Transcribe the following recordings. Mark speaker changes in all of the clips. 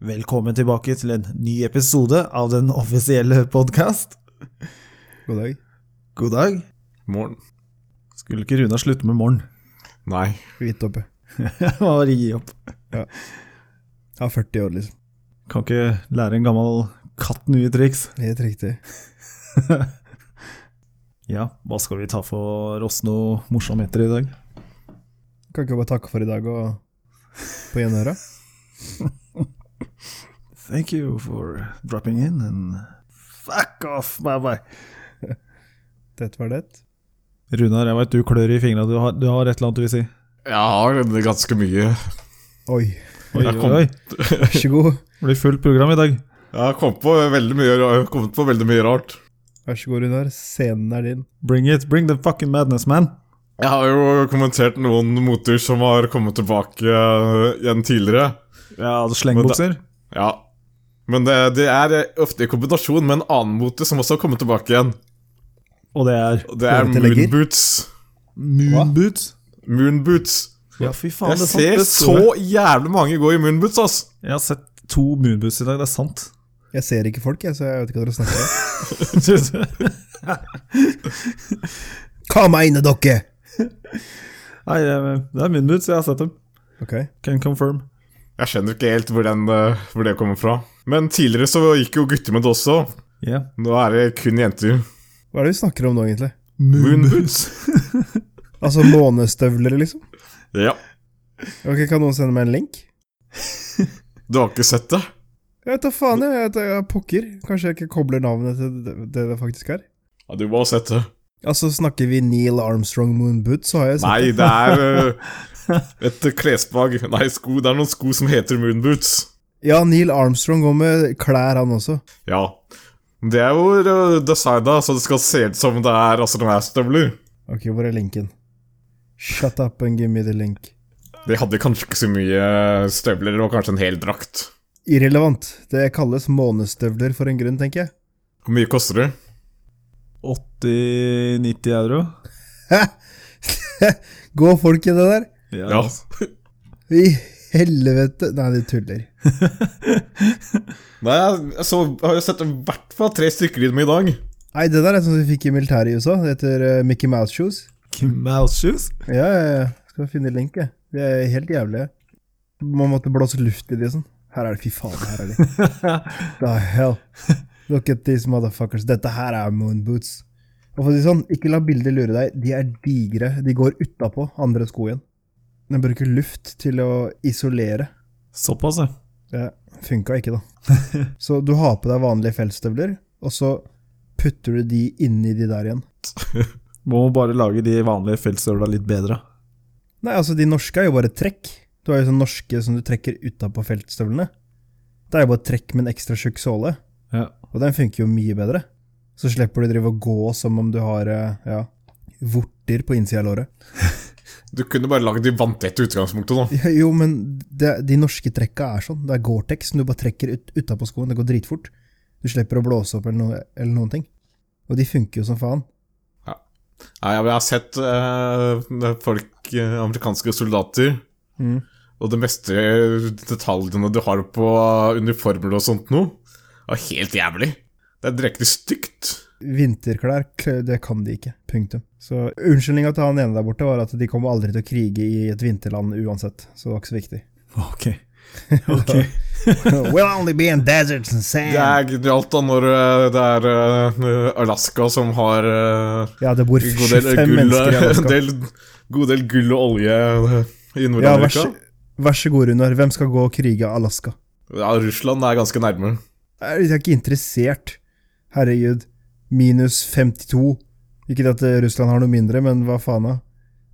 Speaker 1: Velkommen tilbake til en ny episode av den offisielle podkast.
Speaker 2: God dag.
Speaker 1: God dag.
Speaker 3: Morgen.
Speaker 1: Skulle ikke Runa slutte med morgen?
Speaker 3: Nei.
Speaker 2: Hvitt oppe.
Speaker 1: Bare gi opp.
Speaker 2: Jeg er 40 år, liksom.
Speaker 1: Kan ikke lære en gammel katt nye triks.
Speaker 2: Helt riktig.
Speaker 1: Ja, hva skal vi ta for oss noe morsomheter i dag?
Speaker 2: Kan ikke jeg bare takke for i dag og på gjenhøret?
Speaker 1: Thank you for dropping in and fuck off, bye bye.
Speaker 2: Det var det.
Speaker 1: Runar, jeg veit du klør i fingra. Du, har- du har et eller annet du vil si?
Speaker 3: Jeg har ganske mye.
Speaker 2: Oi,
Speaker 1: Oi,
Speaker 3: Jeg
Speaker 1: oi,
Speaker 3: kom-
Speaker 1: oi.
Speaker 2: vær så god.
Speaker 1: Det blir fullt program i dag.
Speaker 3: Jeg har kommet på veldig mye, jeg har kommet på veldig mye rart.
Speaker 2: Vær så god, Runar. Scenen er din.
Speaker 1: Bring it. Bring the fucking madness, man.
Speaker 3: Jeg har jo kommentert noen moter som har kommet tilbake eh, igjen tidligere.
Speaker 1: Ja, slengbukser.
Speaker 3: Ja. Men det, det er eh, ofte i kombinasjon med en annen mote som også har kommet tilbake igjen.
Speaker 1: Og det er
Speaker 3: Og det er
Speaker 2: Høretillegger?
Speaker 3: moonboots.
Speaker 1: moonboots.
Speaker 3: Moonboots.
Speaker 1: Ja, fy faen,
Speaker 3: Jeg
Speaker 1: det er sant.
Speaker 3: ser
Speaker 1: det
Speaker 3: så
Speaker 1: står det.
Speaker 3: jævlig mange gå i moonboots, ass.
Speaker 1: Jeg har sett to moonboots i dag, det er sant.
Speaker 2: Jeg ser ikke folk, jeg, så jeg vet ikke hva dere snakker om. Kom meg inne, dere!
Speaker 1: Nei, jeg- det er moonboots, jeg har sett dem.
Speaker 2: Ok.
Speaker 1: Can confirm.
Speaker 3: Jeg skjønner ikke helt hvor, den, eh, hvor det kommer fra. Men tidligere så gikk jo gutter med det også.
Speaker 1: Yeah.
Speaker 3: Nå er det kun jenter.
Speaker 2: Hva er det vi snakker om nå, egentlig?
Speaker 3: Moonboots.
Speaker 2: Altså månestøvler, liksom?
Speaker 3: Ja.
Speaker 2: Ok, Kan noen sende meg en link?
Speaker 3: Du har ikke sett det?
Speaker 2: Jeg vet da faen, jeg. jeg, vet- jeg pokker. Kanskje jeg ikke kobler navnet til det det, det faktisk er.
Speaker 3: Ja, du må ha sett det.
Speaker 2: Altså, snakker vi Neil Armstrong Moonboot, så har jeg sett
Speaker 3: Nei, det er eh, et klesplagg Nei, sko. Det er noen sko som heter moonboots.
Speaker 2: Ja, Neil Armstrong går med klær, han også.
Speaker 3: Ja. Det er jo uh, designa så det skal se ut som det er astronautstøvler.
Speaker 2: Ok, hvor er linken? Shut up and give me the link.
Speaker 3: De hadde kanskje ikke så mye støvler og kanskje en hel drakt.
Speaker 2: Irrelevant. Det kalles månestøvler for en grunn, tenker jeg.
Speaker 3: Hvor mye koster det?
Speaker 1: 80-90 euro.
Speaker 2: Gå folk i det der!
Speaker 3: Ja.
Speaker 1: altså.
Speaker 2: I helvete! Nei, de tuller.
Speaker 3: Nei, jeg så, jeg har jo sett i hvert fall tre stykker i dem i dag.
Speaker 2: Nei, det der er sånn som vi fikk i militæret i USA. Det heter eh, Mickey Mouse Shoes.
Speaker 1: Mouse shoes?
Speaker 2: Ja, ja, ja. Skal finne link, jeg. Det er helt jævlig. Man måtte blåse luft i de sånn. Her er det, fy faen, her er de. The hell. Look at these motherfuckers. Dette her er moonboots. Og for å si det sånn, ikke la bildet lure deg. De er digre. De går utapå andre sko igjen. De bruker luft til å isolere.
Speaker 1: Såpass, ja.
Speaker 2: Det funka ikke, da. Så du har på deg vanlige feltstøvler, og så putter du de inni de der igjen.
Speaker 1: Må bare lage de vanlige feltstøvla litt bedre.
Speaker 2: Nei, altså, de norske er jo bare trekk. Du har jo sånne norske som du trekker utapå feltstøvlene. Det er jo bare trekk med en ekstra tjukk såle.
Speaker 1: Ja.
Speaker 2: Og den funker jo mye bedre. Så slipper du drive og gå som om du har eh, ja, vorter på innsida av låret.
Speaker 3: Du kunne bare lagd de vanntette utgangspunktet, da.
Speaker 2: Ja, Jo, men det, de norske trekka er sånn. Det er Gore-Tex som du bare trekker ut, utapå skoen. Det går dritfort. Du slipper å blåse opp eller, noe, eller noen ting. Og de funker jo som faen.
Speaker 3: Nei, jeg har sett eh, folk, eh, amerikanske soldater,
Speaker 2: Mhm.
Speaker 3: og det meste detaljene du har på uniformer og sånt nå, er helt jævlig. Det er direkte stygt.
Speaker 2: Vinterklær, k- det kan de ikke. Punktum. Så unnskyldninga til han ene der borte var at de kommer aldri til å krige i et vinterland uansett. Så det var ikke så viktig.
Speaker 1: Ok. Ok.
Speaker 2: We'll only be in deserts and
Speaker 3: Det er genialt da når eh, det er eh, Alaska som har eh,
Speaker 2: Ja, det bor
Speaker 3: en god del
Speaker 2: 25
Speaker 3: gull, eh,
Speaker 2: mennesker i
Speaker 3: en
Speaker 2: Alaska.
Speaker 3: del, god del gull og olje eh, i
Speaker 2: Ja, vær
Speaker 3: Nord-Amerika.
Speaker 2: så, vær så god, Runar. Hvem skal gå og krige Alaska?
Speaker 3: Ja, Russland er ganske nærme.
Speaker 2: Jeg er ikke interessert. Herregud. Minus 52. Ikke det at eh, Russland har noe mindre, men hva faen da?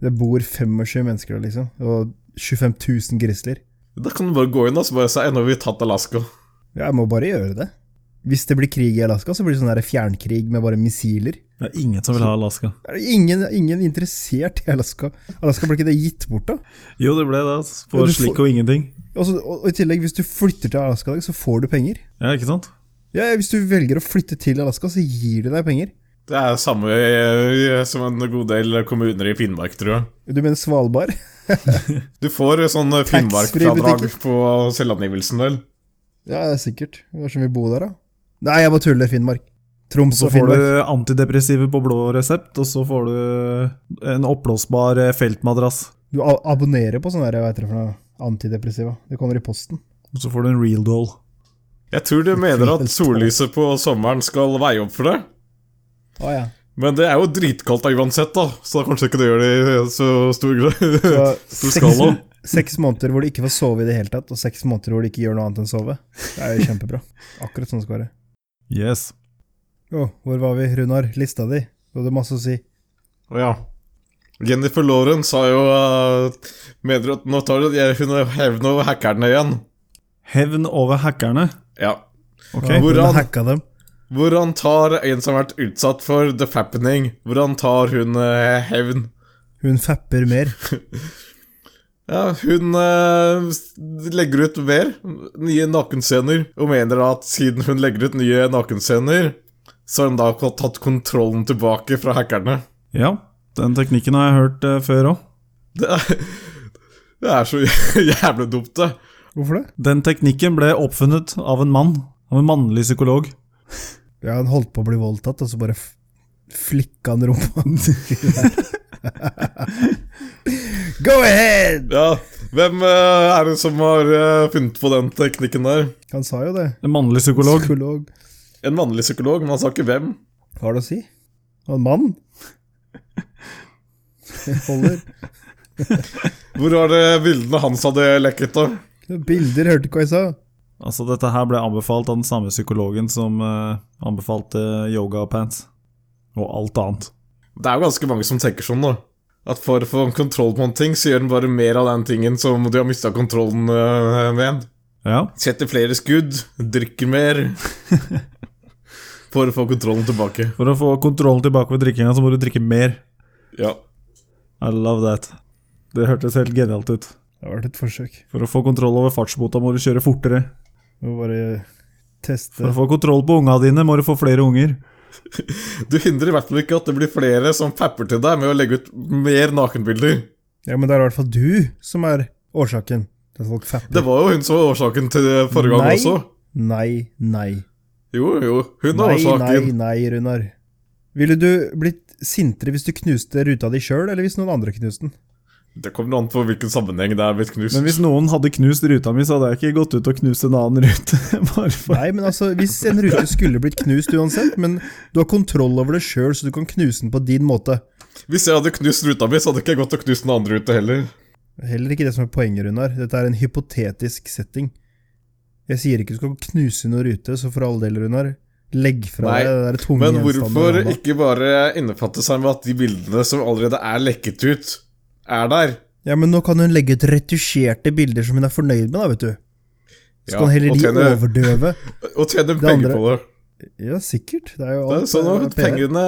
Speaker 2: Det bor 25 mennesker der, liksom. Og 25 000 grisler.
Speaker 3: Da kan du bare gå inn og så bare si nå har vi tatt Alaska.
Speaker 2: Jeg må bare gjøre det. Hvis det blir krig i Alaska, så blir det sånn der fjernkrig med bare missiler.
Speaker 1: Det er ingen som vil ha Alaska.
Speaker 2: Er det ingen, ingen interessert i Alaska. Alaska ble ikke det gitt bort, da?
Speaker 1: Jo, det ble det. altså.
Speaker 2: Ja,
Speaker 1: For
Speaker 2: du får-
Speaker 1: slikk og ingenting.
Speaker 2: Og, så, og, og i tillegg, hvis du flytter til Alaska, så får du penger.
Speaker 1: Ja, ikke sant?
Speaker 2: Ja, Hvis du velger å flytte til Alaska, så gir de deg penger.
Speaker 3: Det er samme eh, som en god del kommuner i Finnmark, tror jeg.
Speaker 2: Du mener Svalbard?
Speaker 3: Du får sånn
Speaker 2: Taxfree
Speaker 3: Finnmark-fradrag
Speaker 2: butikker.
Speaker 3: på selvangivelsen, vel?
Speaker 2: Ja, det er sikkert. Hva som vil bo der, da? Nei, jeg bare tuller. Finnmark.
Speaker 1: Og
Speaker 2: Troms
Speaker 1: så
Speaker 2: og
Speaker 1: får
Speaker 2: Finnmark.
Speaker 1: du antidepressive på blå resept, og så får du en oppblåsbar eh, feltmadrass.
Speaker 2: Du a- abonnerer på sånne der, hva heter det for noe, antidepressiva. Det kommer i posten.
Speaker 1: Og så får du en real doll.
Speaker 3: Jeg tror du mener at sollyset på sommeren skal veie opp for det.
Speaker 2: Å ja.
Speaker 3: Men det er jo dritkaldt da uansett, da, så da kanskje ikke det gjør det i så stor
Speaker 2: Så
Speaker 3: grad. Stor
Speaker 2: seks,
Speaker 3: skala.
Speaker 2: seks måneder hvor du ikke får sove i det hele tatt, og seks måneder hvor du ikke gjør noe annet enn sove. Det er jo kjempebra. Akkurat sånn det skal være.
Speaker 1: Yes.
Speaker 2: Å, hvor var vi, Runar? Lista di? Du hadde masse å si.
Speaker 3: Og ja. Jennifer Lawrence har jo uh, Mener at nå tar det, jeg- hun er hevn over hackerne igjen.
Speaker 1: Hevn over hackerne.
Speaker 3: Ja.
Speaker 1: Ok.
Speaker 2: Ja,
Speaker 3: Hvordan-
Speaker 2: hvordan hacka dem?
Speaker 3: Hvor han tar en som har vært utsatt for the fappening. Hvor han tar hun eh, hevn.
Speaker 2: Hun fapper mer.
Speaker 3: Ja, hun eh, s- legger ut mer nye nakenscener, og mener at siden hun legger ut nye nakenscener, så har hun da k- tatt kontrollen tilbake fra hackerne.
Speaker 1: Ja, den teknikken har jeg hørt eh, før òg.
Speaker 3: Det er, det er så jævlig dumt, det.
Speaker 2: Hvorfor det?
Speaker 1: Den teknikken ble oppfunnet av en mann. Av en mannlig psykolog.
Speaker 2: Ja, han holdt på å bli voldtatt, og så bare f- flikka han rumpa hans. Go ahead!
Speaker 3: Ja, hvem eh, er det som har eh, funnet på den teknikken der?
Speaker 2: Han sa jo det.
Speaker 1: En mannlig psykolog.
Speaker 2: Psykolog.
Speaker 3: En mannlig psykolog, men han sa ikke hvem.
Speaker 2: Hva har det å si? Og en mann? Holder.
Speaker 3: Hvor var det bildene hans hadde lekket, da?
Speaker 2: Bilder, hørte ikke hva jeg sa.
Speaker 1: Altså, dette her ble anbefalt av den samme psykologen som eh, anbefalte yogapants. Og alt annet.
Speaker 3: Det er jo ganske mange som tenker sånn, da. At for å få kontroll på en ting, så gjør den bare mer av den tingen som du har mista kontrollen øh, med.
Speaker 1: Ja.
Speaker 3: Setter flere skudd, drikker mer. for å få kontrollen tilbake.
Speaker 1: For å få kontrollen tilbake ved drikkinga, så må du drikke mer.
Speaker 3: Ja.
Speaker 1: I love that. Det hørtes helt genialt ut.
Speaker 2: Det har vært et forsøk.
Speaker 1: For å få kontroll over fartsbota må du kjøre fortere.
Speaker 2: Må bare
Speaker 1: For
Speaker 2: teste.
Speaker 1: å få kontroll på unga dine må du få flere unger.
Speaker 3: Du hindrer i hvert fall ikke at det blir flere som papper til deg med å legge ut mer nakenbilder.
Speaker 2: Ja, men det er i hvert fall du som er årsaken til at folk
Speaker 3: Det
Speaker 2: fapper.
Speaker 3: var jo hun som var årsaken til det forrige gang
Speaker 2: Nei.
Speaker 3: også.
Speaker 2: Nei, nei.
Speaker 3: Jo, jo. Hun er
Speaker 2: Nei, nei,
Speaker 3: årsaken.
Speaker 2: nei, Runar. Ville du blitt sintere hvis du knuste ruta di sjøl, eller hvis noen andre knuste den?
Speaker 3: Det kommer an på hvilken sammenheng det er blitt knust.
Speaker 1: Men hvis noen hadde knust ruta mi, så hadde jeg ikke gått ut og knust en annen rute. Bare for.
Speaker 2: Nei, men altså, hvis en rute skulle blitt knust uansett, men du har kontroll over det sjøl, så du kan knuse den på din måte.
Speaker 3: Hvis jeg hadde knust ruta mi, så hadde ikke jeg gått og knust den andre ruta heller.
Speaker 2: Heller ikke det som er poenget, Runar. Dette er en hypotetisk setting. Jeg sier ikke du skal knuse noen rute, så for all del, Runar, legg fra
Speaker 3: Nei,
Speaker 2: deg det der tunge
Speaker 3: Men
Speaker 2: gjenstanden i
Speaker 3: hvorfor
Speaker 2: hånda.
Speaker 3: ikke bare innbefatte seg med at de bildene som allerede er lekket ut, er der?
Speaker 2: Ja, men nå kan hun legge ut retusjerte bilder som hun er fornøyd med, da, vet du. Så
Speaker 3: Ja,
Speaker 2: kan heller
Speaker 3: og
Speaker 2: de
Speaker 3: tjene-
Speaker 2: overdøve.
Speaker 3: Og tjene
Speaker 2: Det
Speaker 3: penger
Speaker 2: andre-
Speaker 3: på det.
Speaker 2: Ja, sikkert. Det er jo
Speaker 3: det
Speaker 2: alt.
Speaker 3: er sånn
Speaker 2: eh,
Speaker 3: at
Speaker 2: PR.
Speaker 3: pengene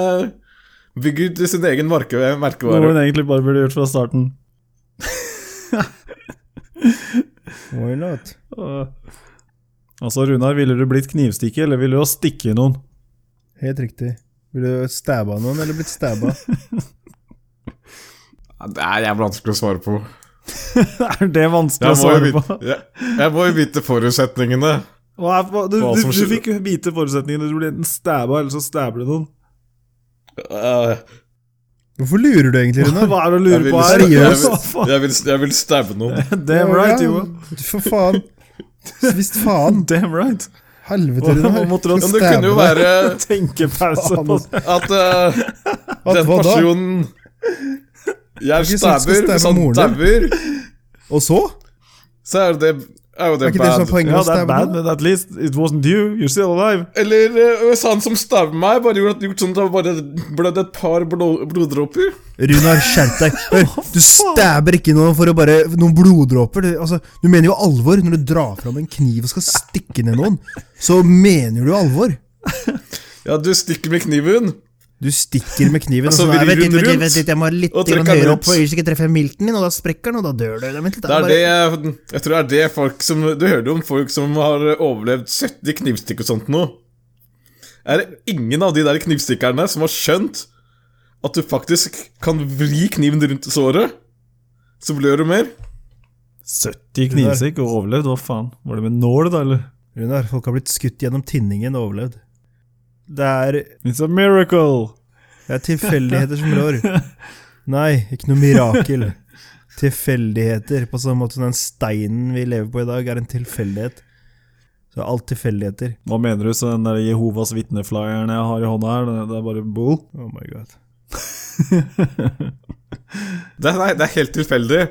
Speaker 3: bygger til sin egen marke,
Speaker 1: Noe
Speaker 3: merkevare.
Speaker 1: hun egentlig bare burde gjort fra starten.
Speaker 2: Why not?
Speaker 1: Øh. Altså, Runar, ville du blitt knivstikke, eller ville du ha stikket noen?
Speaker 2: Helt riktig. Vil du stabba noen, eller blitt stabba?
Speaker 3: Ja, Det er jævlig vanskelig å svare på.
Speaker 1: Er det vanskelig å
Speaker 3: Jeg må, jo
Speaker 1: svare på?
Speaker 3: vite, jeg, jeg må jo vite forutsetningene.
Speaker 1: Hva er, hva, du,
Speaker 3: Hva
Speaker 1: du,
Speaker 3: som
Speaker 1: du
Speaker 3: skjer-
Speaker 1: fikk vite forutsetningene. Du ble enten stabba, eller så stabber du noen.
Speaker 3: Eh,
Speaker 2: Hvorfor lurer du egentlig, Rune?
Speaker 1: Hva er det å
Speaker 3: Jeg
Speaker 1: lure
Speaker 3: vil,
Speaker 1: på her?
Speaker 3: jeg vil,
Speaker 2: seriøst.
Speaker 1: Hva faen?
Speaker 3: jeg vil, jeg vil stabbe noen.
Speaker 1: Damn right, jo.
Speaker 2: For faen. Visst faen.
Speaker 1: Damn right.
Speaker 2: Helvete,
Speaker 1: Hva- hva
Speaker 2: Runar.
Speaker 1: måtte du ha-
Speaker 3: Men det kunne jo være
Speaker 1: Tenkepause
Speaker 2: Faen,
Speaker 1: på
Speaker 2: altså.
Speaker 3: at eh, den
Speaker 2: hva da?
Speaker 3: personen jeg
Speaker 2: ikke sånn du skal
Speaker 3: stabber, hvis han
Speaker 2: stabbe moren
Speaker 3: dauer
Speaker 2: Og så?
Speaker 3: så er det, er jo
Speaker 2: Er
Speaker 3: det,
Speaker 2: ikke det som
Speaker 3: bad.
Speaker 2: er
Speaker 1: Ja,
Speaker 2: poenget? med å
Speaker 1: det er
Speaker 2: stabbe
Speaker 1: bad,
Speaker 2: noen?
Speaker 1: but at least it wasn't you. You're still alive.
Speaker 3: Eller eh, hvis han som stabber meg, bare gjorde, gjort sånn at det bare blødde et par blod, bloddråper
Speaker 2: Runar, skjerp deg. Hør, du stabber ikke noen for å bare Noen bloddråper. Du, altså, du mener jo alvor når du drar fram en kniv og skal stikke ned noen. Så mener du alvor.
Speaker 3: Ja, du stikker med kniven.
Speaker 2: Du stikker med kniven,
Speaker 3: Og
Speaker 2: og
Speaker 3: så
Speaker 2: så
Speaker 3: vrir
Speaker 2: vent litt, vent
Speaker 3: hun
Speaker 2: litt,
Speaker 3: rundt,
Speaker 2: vent litt, jeg må ha litt
Speaker 3: og
Speaker 2: grann
Speaker 3: trykker
Speaker 2: høyere
Speaker 3: rundt.
Speaker 2: opp, og hvis ikke treffer jeg milten min, og da sprekker den, og da dør du. Vent litt,
Speaker 3: Det er
Speaker 2: bare-
Speaker 3: det Jeg tror det er det folk som Du hører jo om folk som har overlevd 70 knivstikk og sånt nå. Er det ingen av de der knivstikkerne som har skjønt at du faktisk kan vri kniven rundt såret, så blør du mer?
Speaker 1: 70 knivstikk og overlevd, hva faen? Var det med nål, da, eller?
Speaker 2: Runar, folk har blitt skutt gjennom tinningen og overlevd. Det er,
Speaker 1: It's a miracle!
Speaker 2: det er tilfeldigheter som rår. Nei, ikke noe mirakel. Tilfeldigheter, på samme måte som den steinen vi lever på i dag, er en tilfeldighet. Så alt tilfeldigheter.
Speaker 1: Hva mener du, så den der Jehovas vitneflyeren jeg har i hånda her, det- det er bare bull?
Speaker 2: Oh my god.
Speaker 3: Det, nei, det er helt tilfeldig.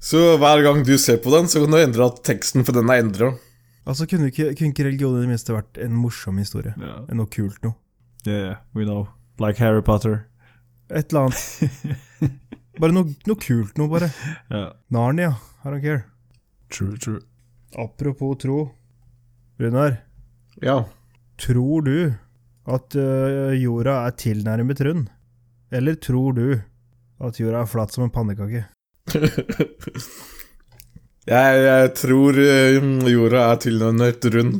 Speaker 3: Så hver gang du ser på den, så kan du endre at teksten for den er endra.
Speaker 2: Altså, kunne ikke, kunne ikke religion i det minste vært en morsom historie?
Speaker 1: Yeah.
Speaker 2: Noe kult noe?
Speaker 1: yeah, we know. Like Harry Potter.
Speaker 2: Et eller annet. Bare noe, noe kult noe, bare.
Speaker 1: Yeah.
Speaker 2: Narnia, I don't care.
Speaker 1: True, true.
Speaker 2: Apropos tro. Runar,
Speaker 3: Ja.
Speaker 2: tror du at ø, jorda er tilnærmet rund? Eller tror du at jorda er flat som en pannekake?
Speaker 3: Jeg, jeg tror eh, jorda er tilnærmet rund.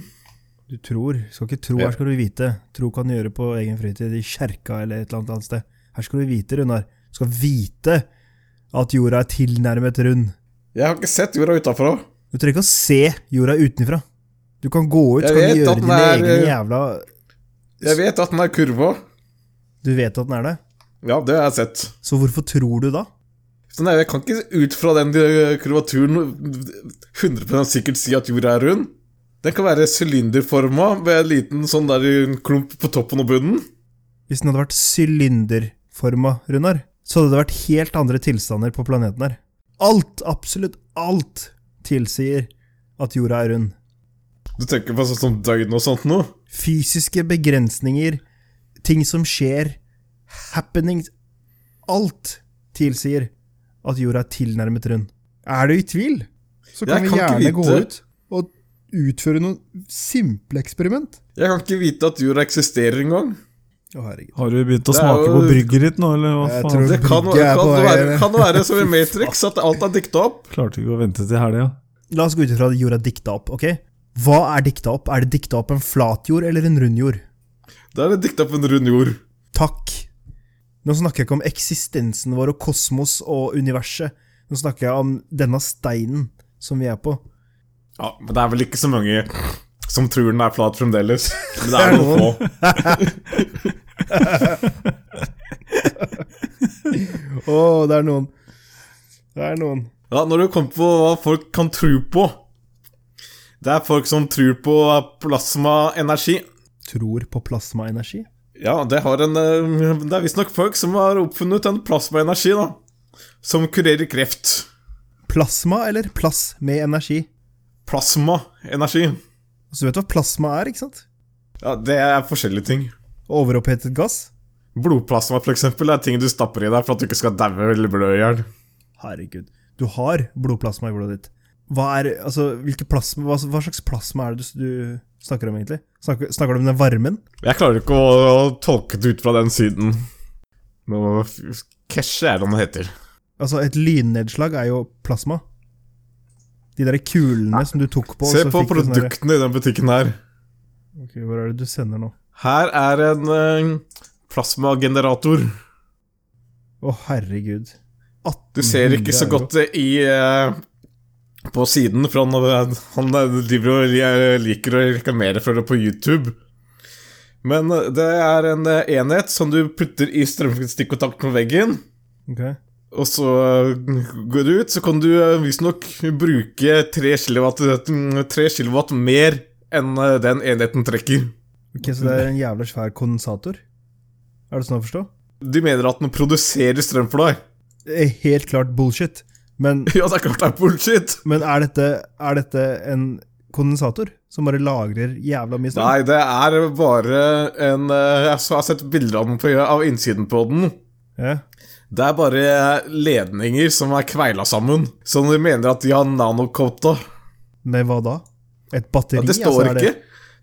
Speaker 2: Du tror. Skal ikke tro, her skal du vite. Tro kan du gjøre på egen fritid, i kjerka eller et eller annet annet sted. Her skal du vite, Runar. Du skal vite at jorda er tilnærmet rund.
Speaker 3: Jeg har ikke sett jorda utafra.
Speaker 2: Du trenger ikke å se jorda utenfra. Du kan gå ut,
Speaker 3: Jeg
Speaker 2: så kan du
Speaker 3: vet
Speaker 2: gjøre
Speaker 3: at den
Speaker 2: dine
Speaker 3: er,
Speaker 2: egne
Speaker 3: eh,
Speaker 2: jævla
Speaker 3: Jeg vet at den er kurva.
Speaker 2: Du vet at den er det?
Speaker 3: Ja, det har jeg sett.
Speaker 2: Så hvorfor tror du da?
Speaker 3: Så nei, jeg kan ikke ut fra den eh, kurvaturen 100 sikkert si at jorda er rund. Den kan være sylinderforma med en liten sånn der klump på toppen og bunnen.
Speaker 2: Hvis den hadde vært sylinderforma, Runar, så hadde det vært helt andre tilstander på planeten her. Alt, absolutt alt, tilsier at jorda er rund.
Speaker 3: Du tenker på sånn som døgn og sånt noe?
Speaker 2: Fysiske begrensninger, ting som skjer, happenings Alt tilsier at jorda er tilnærmet rund. Er du i tvil, så
Speaker 3: kan Jeg vi kan ikke gjerne gå vite. ut
Speaker 2: og utføre noen simple eksperiment.
Speaker 3: Jeg kan ikke vite at jorda eksisterer engang.
Speaker 2: Å, herregud.
Speaker 1: Har du begynt å
Speaker 3: Det er
Speaker 1: smake
Speaker 3: jo-
Speaker 1: på brygget ditt nå, eller hva
Speaker 2: Jeg
Speaker 1: faen?
Speaker 2: tror-
Speaker 3: Det kan,
Speaker 2: Brygge er
Speaker 3: kan,
Speaker 2: på vei,
Speaker 3: være,
Speaker 2: eller?
Speaker 3: kan være som i Matrix, at alt er dikta opp.
Speaker 1: Klarte ikke å vente til helga.
Speaker 2: La oss gå ut ifra at jorda er dikta opp, ok? Hva er dikta opp? Er det dikta opp en flat jord eller en rund jord?
Speaker 3: Da er det dikta opp en rund jord.
Speaker 2: Takk. Nå snakker jeg ikke om eksistensen vår og kosmos og universet. Nå snakker jeg om denne steinen som vi er på.
Speaker 3: Ja, Men det er vel ikke så mange som tror den er flat fremdeles. Men det er noen få.
Speaker 2: Å, det er noen. Det er noen.
Speaker 3: Ja, når du kommer på hva folk kan tro på Det er folk som tror på plasmaenergi.
Speaker 2: Tror på plasmaenergi?
Speaker 3: Ja, det, har en, eh, det er visstnok folk som har oppfunnet en plasmaenergi, da. Som kurerer kreft.
Speaker 2: Plasma eller plass med energi?
Speaker 3: Plasmaenergi.
Speaker 2: Så du vet hva plasma er, ikke sant?
Speaker 3: Ja, det er forskjellige ting.
Speaker 2: Overopphetet gass?
Speaker 3: Blodplasma, for eksempel, er ting du stapper i deg for at du ikke skal daue eller blø i hjel.
Speaker 2: Herregud. Du har blodplasma i blodet ditt. Hva, er, altså, hvilke plasma, hva, hva slags plasma er det du, du snakker om, egentlig? Snakker, snakker du om den varmen?
Speaker 3: Jeg klarer ikke å, å tolke det ut fra den siden. Nå Keshe er det han heter.
Speaker 2: Altså, et lynnedslag er jo plasma. De der kulene som du tok på og
Speaker 3: Se
Speaker 2: så
Speaker 3: på
Speaker 2: fikk du sånn der-
Speaker 3: produktene i den butikken her.
Speaker 2: Ok, Hvor er det du sender nå?
Speaker 3: Her er en eh, plasmagenerator.
Speaker 2: Å, herregud.
Speaker 3: Du ser ikke så
Speaker 2: 1800
Speaker 3: godt eh, i eh, på siden, for han, eh, han eh, driver og li- liker å reklamere for det på YouTube. Men eh, det er en eh, enhet som du putter i strømstikkkontakt med veggen.
Speaker 2: euro. Ok.
Speaker 3: Og så eh, går du ut, så kan du eh, visstnok bruke 3 kilowatt, 3 kilowatt mer enn eh, den enheten trekker.
Speaker 2: ok, så det er en jævla svær kondensator? Er det sånn å forstå?
Speaker 3: De mener at den produserer strøm for deg.
Speaker 2: Det er Eh, Helt klart bullshit. Men,
Speaker 3: Ja, det er klart det er bullshit!
Speaker 2: men er, dette, er dette en kondensator som bare lagrer jævla mye strøm?
Speaker 3: Nei, det er bare en eh, Jeg har sett bilder av, den på, av innsiden på den.
Speaker 2: Ja.
Speaker 3: Det er bare ledninger som er kveila sammen. Så de mener at de har nanocoata.
Speaker 2: Med hva da? Et batteri? Altså,
Speaker 3: Ja, det står ikke.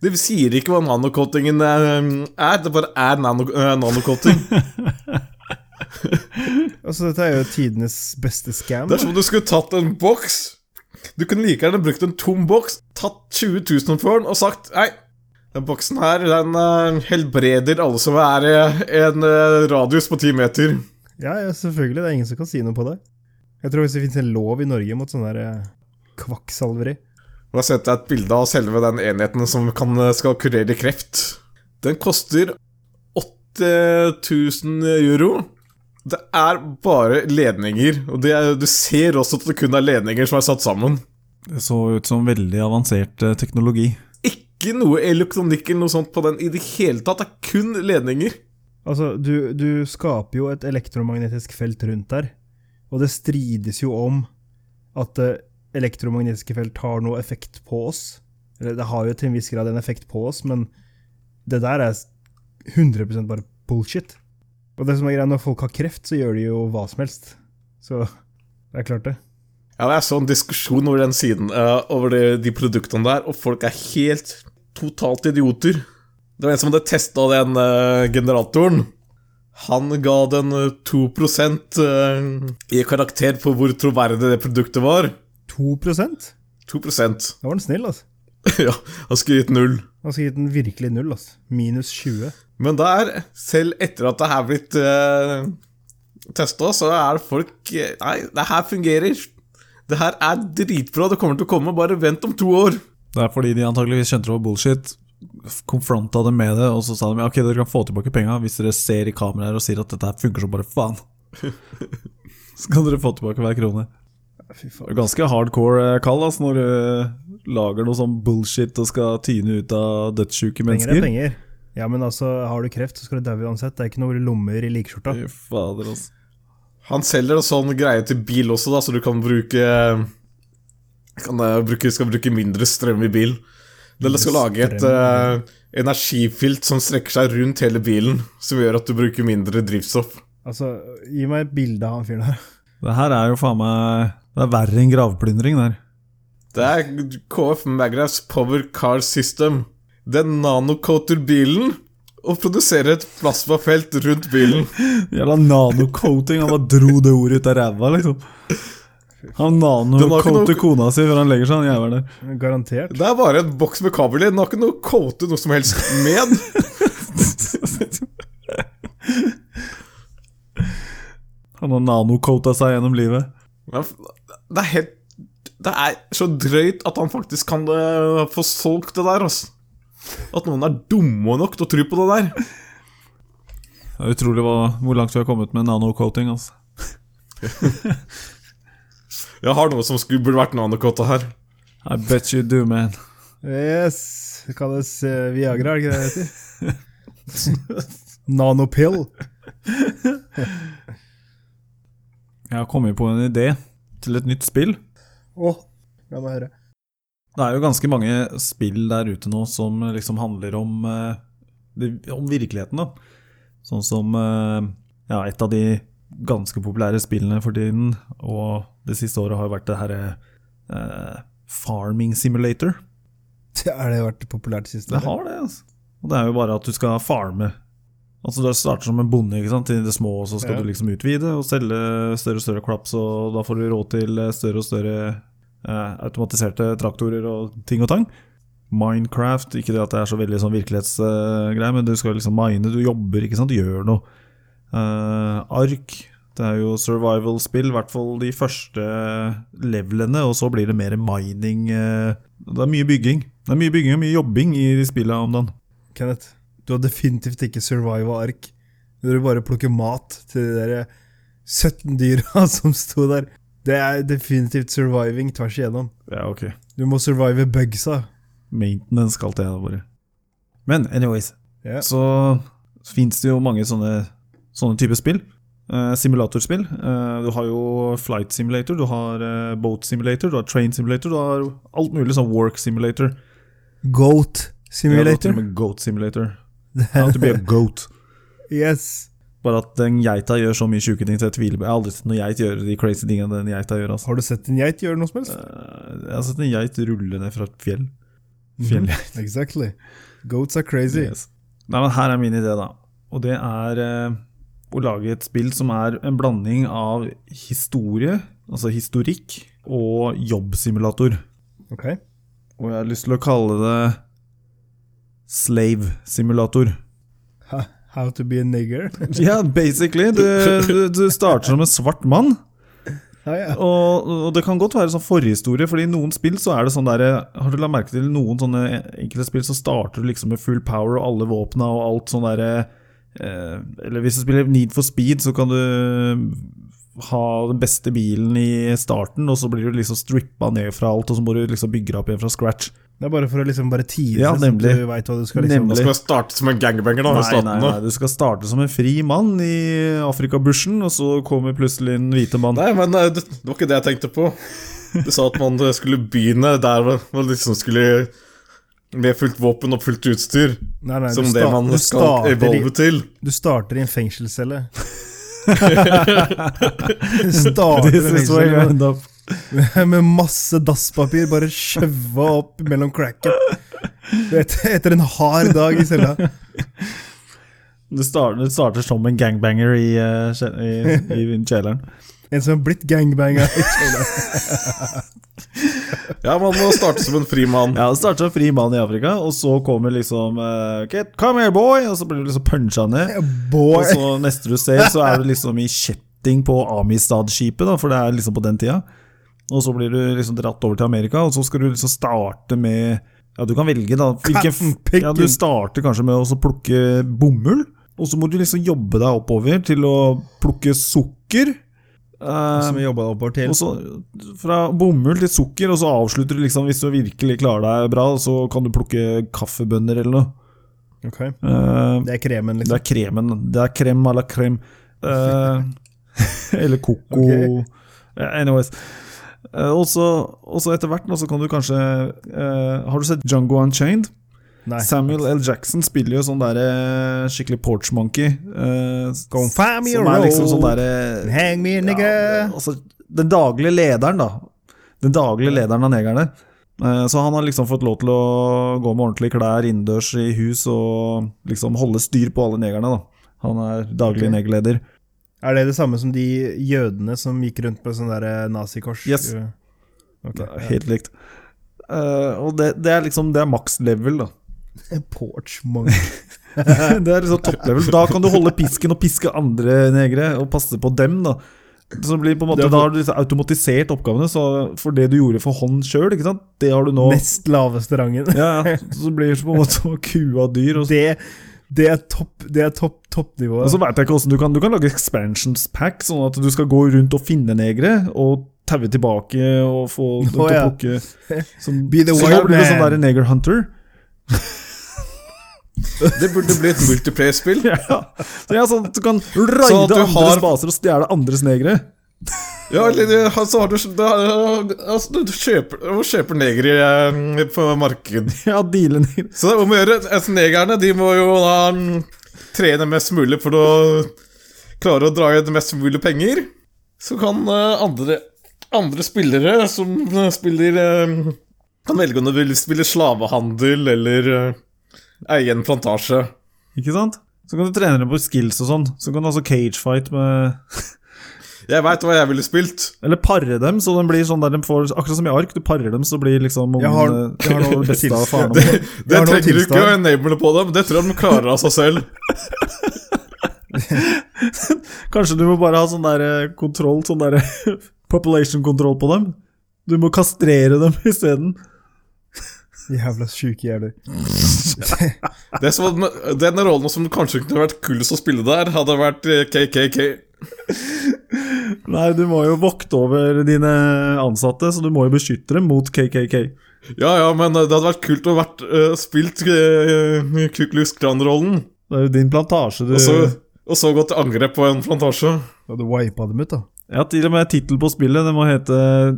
Speaker 3: De sier ikke hva nanocoatingen eh, er. Det bare er nano, eh, nanocoating.
Speaker 2: det, altså, dette er jo tidenes beste scam.
Speaker 3: Det er som om du skulle tatt en boks. Du kunne like gjerne brukt en tom boks, tatt 20 000 for den og sagt Nei, den boksen her, den eh, helbreder alle som er i en eh, radius på ti meter.
Speaker 2: Ja, ja, selvfølgelig. Det er ingen som kan si noe på det. Jeg tror hvis det finnes en lov i Norge mot sånn der eh, kvakksalveri.
Speaker 3: Og jeg har sett deg et bilde av selve den enheten som kan, eh, skal kurere kreft. Den koster 8000 euro. Det er bare ledninger, og det er, du ser også at det kun er ledninger som er satt sammen.
Speaker 1: Det så ut som veldig avansert eh, teknologi.
Speaker 3: Ikke noe elektronikk eller noe sånt på den i det hele tatt. Det er kun ledninger.
Speaker 2: Altså, du, du skaper jo et elektromagnetisk felt rundt der, og det strides jo om at det elektromagnetiske felt har noe effekt på oss. Eller det har jo til en viss grad en effekt på oss, men det der er 100 bare bullshit. Og det som er greia, når folk har kreft, så gjør de jo hva som helst. Så det er klart, det.
Speaker 3: Ja, det er sånn diskusjon over den siden, eh, over det, de produktene der, og folk er helt totalt idioter. Det var en som hadde testa den eh, generatoren. Han ga den eh, 2 eh, i karakter på hvor troverdig det produktet var.
Speaker 2: 2 Da
Speaker 3: 2
Speaker 2: var den snill, altså.
Speaker 3: Ja, han skulle gitt null.
Speaker 2: Han skulle gitt den virkelig null, altså. Minus 20.
Speaker 3: Men der, selv etter at det her er blitt uh, testa, så er det folk eh, Nei, det her fungerer. Det her er dritbra. Det kommer til å komme. Bare vent om to år.
Speaker 1: Det er fordi de antakeligvis skjønte det var bullshit, konfronta dem med det, og så sa de ok, dere kan få tilbake penga hvis dere ser i kameraer og sier at dette her funker som bare faen. Så kan dere få tilbake hver krone.
Speaker 2: Fy faen.
Speaker 1: Ganske hardcore eh, kall, altså, når du eh, lager noe sånn bullshit og skal tyne ut av dødssjuke
Speaker 2: Penger er
Speaker 1: mennesker.
Speaker 2: penger. Ja, men altså, har du kreft, så skal du daue uansett. Det er ikke noe lommer i likskjorta.
Speaker 1: Fy Fader, altså.
Speaker 3: Han selger en sånn greie til bil også, da, så du kan bruke kan eh, bruke, Skal bruke mindre strøm i bil. Eller skal lage et
Speaker 2: Strøm.
Speaker 3: eh, energifilt som strekker seg rundt hele bilen, som gjør at du bruker mindre drivstoff.
Speaker 2: Altså, gi meg et bilde av han fyren her.
Speaker 1: Det her er jo faen meg Det er verre enn gravplyndring, der.
Speaker 3: Det er KF Magraths Power Car System. Den nanocoater bilen og produserer et plasmafelt rundt bilen.
Speaker 1: Jævla nanocoating. Han bare dro det ordet ut av ræva, liksom. Han nanocoater
Speaker 3: noe-
Speaker 1: kona si før han legger seg, han jævelen der.
Speaker 2: Garantert.
Speaker 3: Det er bare en boks med kabel i. Den har ikke noe coate noe som helst med.
Speaker 1: Han har nanocoata seg gjennom livet.
Speaker 3: Men f- det er helt Det er så drøyt at han faktisk kan eh, få solgt det der, altså. At noen er dumme nok til å tro på det der.
Speaker 1: Det er utrolig hva, hvor langt vi har kommet med nanocoating. Altså.
Speaker 3: Jeg har noe som skulle burde vært nanokota her.
Speaker 1: I bet you do, man.
Speaker 2: Yes. Det kalles eh, Viagra, er det ikke det det heter? Nanopill.
Speaker 1: Jeg har kommet på en idé til et nytt spill.
Speaker 2: Å, la meg høre.
Speaker 1: Det er jo ganske mange spill der ute nå som liksom handler om, eh, det- om virkeligheten, da. Sånn som eh, ja, et av de ganske populære spillene for tiden, og det siste året har jo vært det herre eh, Farming Simulator.
Speaker 2: Det er det vært populært sist?
Speaker 1: Det har det, altså. Og det er jo bare at du skal farme. Altså Du starter som en bonde ikke sant? til det små, og så skal
Speaker 2: Ja.
Speaker 1: du liksom utvide og selge større og større klaps, og da får du råd til større og større eh, automatiserte traktorer og ting og tang. Minecraft, ikke det at det er så veldig sånn virkelighetsgreie, men du skal liksom mine, du jobber, ikke sant? du gjør noe. Eh, ark, det er jo survival-spill, i hvert fall de første levelene, og så blir det mer mining. eh, det er mye bygging. Det er mye bygging og mye jobbing i de spillene om dagen.
Speaker 2: Kenneth, du har definitivt ikke survival ark. Når du bare plukker mat til de der 17 dyra som sto der. Det er definitivt surviving tvers igjennom.
Speaker 1: Ja, ok.
Speaker 2: Du må survive bugsa.
Speaker 1: Maintenance kalte jeg det bare. Men anyways,
Speaker 2: Ja.
Speaker 1: så fins det jo mange sånne, sånne typer spill. Eh, simulatorspill. Eh, du har jo flight simulator, du har eh, boat simulator, du har train simulator, du har alt mulig sånn work simulator.
Speaker 2: Goat
Speaker 1: Ja, det er til og
Speaker 2: simulator.
Speaker 1: med goat simulator. How to be a goat.
Speaker 2: Yes.
Speaker 1: Bare at den geita gjør så mye sjuke ting, så jeg tviler på Jeg har aldri sett noen geit gjøre de crazy tingene den geita gjør. Altså.
Speaker 2: Har du sett en geit gjøre noe som helst?
Speaker 1: Eh, Jeg har sett en geit rulle ned fra et fjell.
Speaker 2: Mhm.
Speaker 1: Fjell,
Speaker 2: Mm-hmm. Exactly. Goats are crazy.
Speaker 1: Yes. Nei, men her er min idé, da. Og det er eh, å lage et spill som er en blanding av historie, altså historikk, og jobbsimulator.
Speaker 2: Ok.
Speaker 1: Og jeg har lyst til å kalle det slave simulator.
Speaker 2: Ha, how to be a nigger.
Speaker 1: Ja, basically. Du, du, du starter som en svart mann.
Speaker 2: Ja, Ah, ja.
Speaker 1: Og, og det kan godt være sånn forhistorie, Fordi i noen spill så er det sånn der Har du lagt merke til noen sånne enkelte spill, så starter du liksom med full power og alle våpna og alt sånn derre eh, Eller hvis du spiller Need for speed, så kan du ha den beste bilen i starten, og så blir du liksom strippa ned fra alt, og så må du liksom bygge deg opp igjen fra scratch.
Speaker 2: Det er bare for å liksom bare tie
Speaker 1: Ja,
Speaker 2: seg, sånn at
Speaker 1: nemlig.
Speaker 2: du vet hva du skal liksom
Speaker 3: Da
Speaker 1: Nemlig.
Speaker 3: skal jeg starte som en gangbanger, da. i
Speaker 1: Nei, nei,
Speaker 3: staten, da.
Speaker 1: nei, du skal starte som en fri mann i Afrikabushen, og så kommer plutselig en hvite mann.
Speaker 3: Nei, men eh, det, det var ikke det jeg tenkte på. Du sa at man eh, skulle begynne der hvor man liksom skulle Med fullt våpen og fullt utstyr.
Speaker 2: Nei, nei, du
Speaker 3: som det
Speaker 2: sta-
Speaker 3: man
Speaker 2: du
Speaker 3: skal
Speaker 2: starter
Speaker 3: evolve
Speaker 2: i-
Speaker 3: til.
Speaker 2: Du starter i en fengselscelle. du starter i en
Speaker 1: This is where you
Speaker 2: fengselscelle
Speaker 1: end up.
Speaker 2: med- med masse dasspapir bare skjøva opp mellom cracket. Du vet, Etter en hard dag i cella.
Speaker 1: Du starter, du starter som en gangbanger i, eh, kje- i, i kjelleren.
Speaker 2: En som har blitt gangbanga.
Speaker 3: Ja, man må starte som en fri mann.
Speaker 1: Ja, det starter som fri mann i Afrika, og så kommer liksom eh, okay, Come here, boy! Og så blir du liksom puncha ned. Og
Speaker 2: Boy!
Speaker 1: så neste du ser, så er du liksom i kjetting på Amistad-skipet, da, for det er liksom på den tida. Og så blir du liksom dratt over til Amerika, og så skal du liksom starte med Ja, du kan velge, da. Hvilken,
Speaker 2: Cotton picking.
Speaker 1: ja, du starter kanskje med å så plukke bomull, og så må du liksom jobbe deg oppover til å plukke sukker. Eh,
Speaker 2: Som vi jobba oppover til.
Speaker 1: og så Fra bomull til sukker, og så avslutter du liksom hvis du virkelig klarer deg bra, så kan du plukke kaffebønner eller noe.
Speaker 2: Ok,
Speaker 1: Eh,
Speaker 2: Det er kremen,
Speaker 1: det
Speaker 2: liksom.
Speaker 1: er kremen. Det er krem à la krem. Eh, eller koko.
Speaker 2: Ok.
Speaker 1: Ja, Anyways. Eh, og så og så etter hvert nå, så kan du kanskje eh, Har du sett Jungo Unchained?
Speaker 2: Nei.
Speaker 1: Samuel L. Jackson spiller jo sånn der eh, skikkelig porch monkey. eh,
Speaker 2: Go find me a
Speaker 1: som er liksom
Speaker 2: road
Speaker 1: sånn derre
Speaker 2: Hang me, nigga!
Speaker 1: ja, altså, den daglige lederen, da. Den daglige lederen av negerne. Eh, Så han har liksom fått lov til å gå med ordentlige klær innendørs i hus og liksom holde styr på alle negerne, da. Han er daglig
Speaker 2: Ok.
Speaker 1: negerleder.
Speaker 2: Er det det samme som de jødene som gikk rundt med sånn der eh, nazikors?
Speaker 1: Yes.
Speaker 2: Eh, ok,
Speaker 1: Det er
Speaker 2: ja.
Speaker 1: Helt likt. Eh, og det, det er liksom Det er maks level, da.
Speaker 2: Porch monk.
Speaker 1: Det er liksom top level. Da kan du holde pisken og piske andre negere og passe på dem, da. Så blir på en måte,
Speaker 2: Det er-
Speaker 1: da har du liksom automatisert oppgavene, så for det du gjorde for hånd sjøl, det har du nå
Speaker 2: Nest laveste rangen.
Speaker 1: Ja, ja. Så blir det på en måte som å kue av dyr. Og så,
Speaker 2: Det, det er topp det er topp,
Speaker 1: og
Speaker 2: toppnivået.
Speaker 1: så vet jeg ikke hvordan du kan Du kan lage expansions pack, sånn at du skal gå rundt og finne negere og taue tilbake og få dem til
Speaker 2: Å,
Speaker 1: å
Speaker 2: ja.
Speaker 1: plukke som-
Speaker 2: Be the
Speaker 1: Så da
Speaker 2: wild
Speaker 1: blir du sånn
Speaker 2: man.
Speaker 1: der neger hunter.
Speaker 3: Det burde bli et multiplayer-spill.
Speaker 1: Ja. Så ja, sånn at du kan
Speaker 3: Sånn at
Speaker 1: raide
Speaker 3: du
Speaker 1: andres
Speaker 3: har-
Speaker 1: baser og stjele andres negere.
Speaker 3: Ja, eller eh, så har du da, eh, Altså, du kjøper, du kjøper negere eh, på markedet.
Speaker 1: Ja, deale negere.
Speaker 3: Så det er om å gjøre. Altså, negerne de må jo da mm, trene mest mulig for å klare å dra inn mest mulig penger. Så kan eh, andre, andre spillere som eh, spiller eh, Kan velge om de vil spille slavehandel eller eh, eie en plantasje.
Speaker 1: Ikke sant? Så kan du trene dem på skills og sånn. Så kan du altså cagefight med
Speaker 3: Jeg veit hva jeg ville spilt.
Speaker 1: Eller pare dem, så de blir sånn der de får Akkurat som i ark, du parer dem, så blir liksom ungen
Speaker 2: Jeg har-
Speaker 1: eh,
Speaker 2: jeg har noe
Speaker 1: det beste
Speaker 2: til-
Speaker 1: av faren og
Speaker 3: Det,
Speaker 1: moren.
Speaker 3: det
Speaker 2: har noen
Speaker 3: trenger du ikke å
Speaker 2: tilstand.
Speaker 3: enable på dem. Det tror jeg de klarer av seg selv.
Speaker 1: Kanskje du må bare ha sånn der eh, kontroll, sånn der population control på dem. Du må kastrere dem isteden.
Speaker 2: Jævla sjuke jævler.
Speaker 3: Det som, var- den rollen som kanskje kunne vært kulest å spille der, hadde vært eh, KKK.
Speaker 1: Nei, du må jo vokte over dine ansatte, så du må jo beskytte dem mot KKK.
Speaker 3: Ja, ja, men eh, det hadde vært kult å vært, eh, spilt uh, Kuklus Klan-rollen,
Speaker 1: Det er jo din plantasje du
Speaker 3: og, så- og så gått til angrep på en plantasje.
Speaker 2: Du hadde wipa dem ut, da.
Speaker 1: Ja, til og med tittel på spillet. Det må hete eh,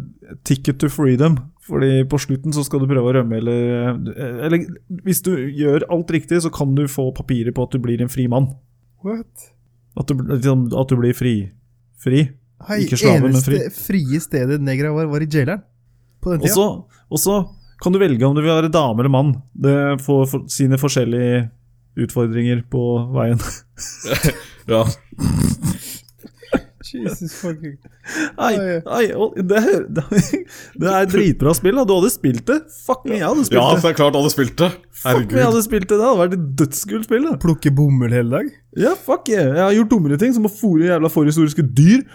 Speaker 1: Ticket to freedom. Fordi på slutten så skal du prøve å rømme, eller eh, Eller hvis du gjør alt riktig, så kan du få papirer på at du blir en fri mann.
Speaker 2: What?
Speaker 1: At du, liksom, at du blir fri. Fri.
Speaker 2: Hei,
Speaker 1: Ikke slave, men fri.
Speaker 2: eneste frie stedet negra var, var i jaileren. På den
Speaker 1: Og
Speaker 2: tida.
Speaker 1: så, og så kan du velge om du vil være dame eller mann. Det får for, sine forskjellige utfordringer på veien.
Speaker 3: Ja.
Speaker 2: Jesus fucking
Speaker 1: Ai, ai, å, det, det, det er dritbra spill. da Du hadde spilt det! Fuck me, jeg hadde
Speaker 3: ja,
Speaker 1: spilt det!
Speaker 3: det er klart alle spilte.
Speaker 1: Fuck me, jeg
Speaker 3: Herregud.
Speaker 1: hadde spilt det, det hadde vært et dødskult spill. da
Speaker 2: Plukke bomull hele dag?
Speaker 1: Ja, fuck yeah. Jeg har gjort dummere ting, som å fôre jævla forhistoriske dyr.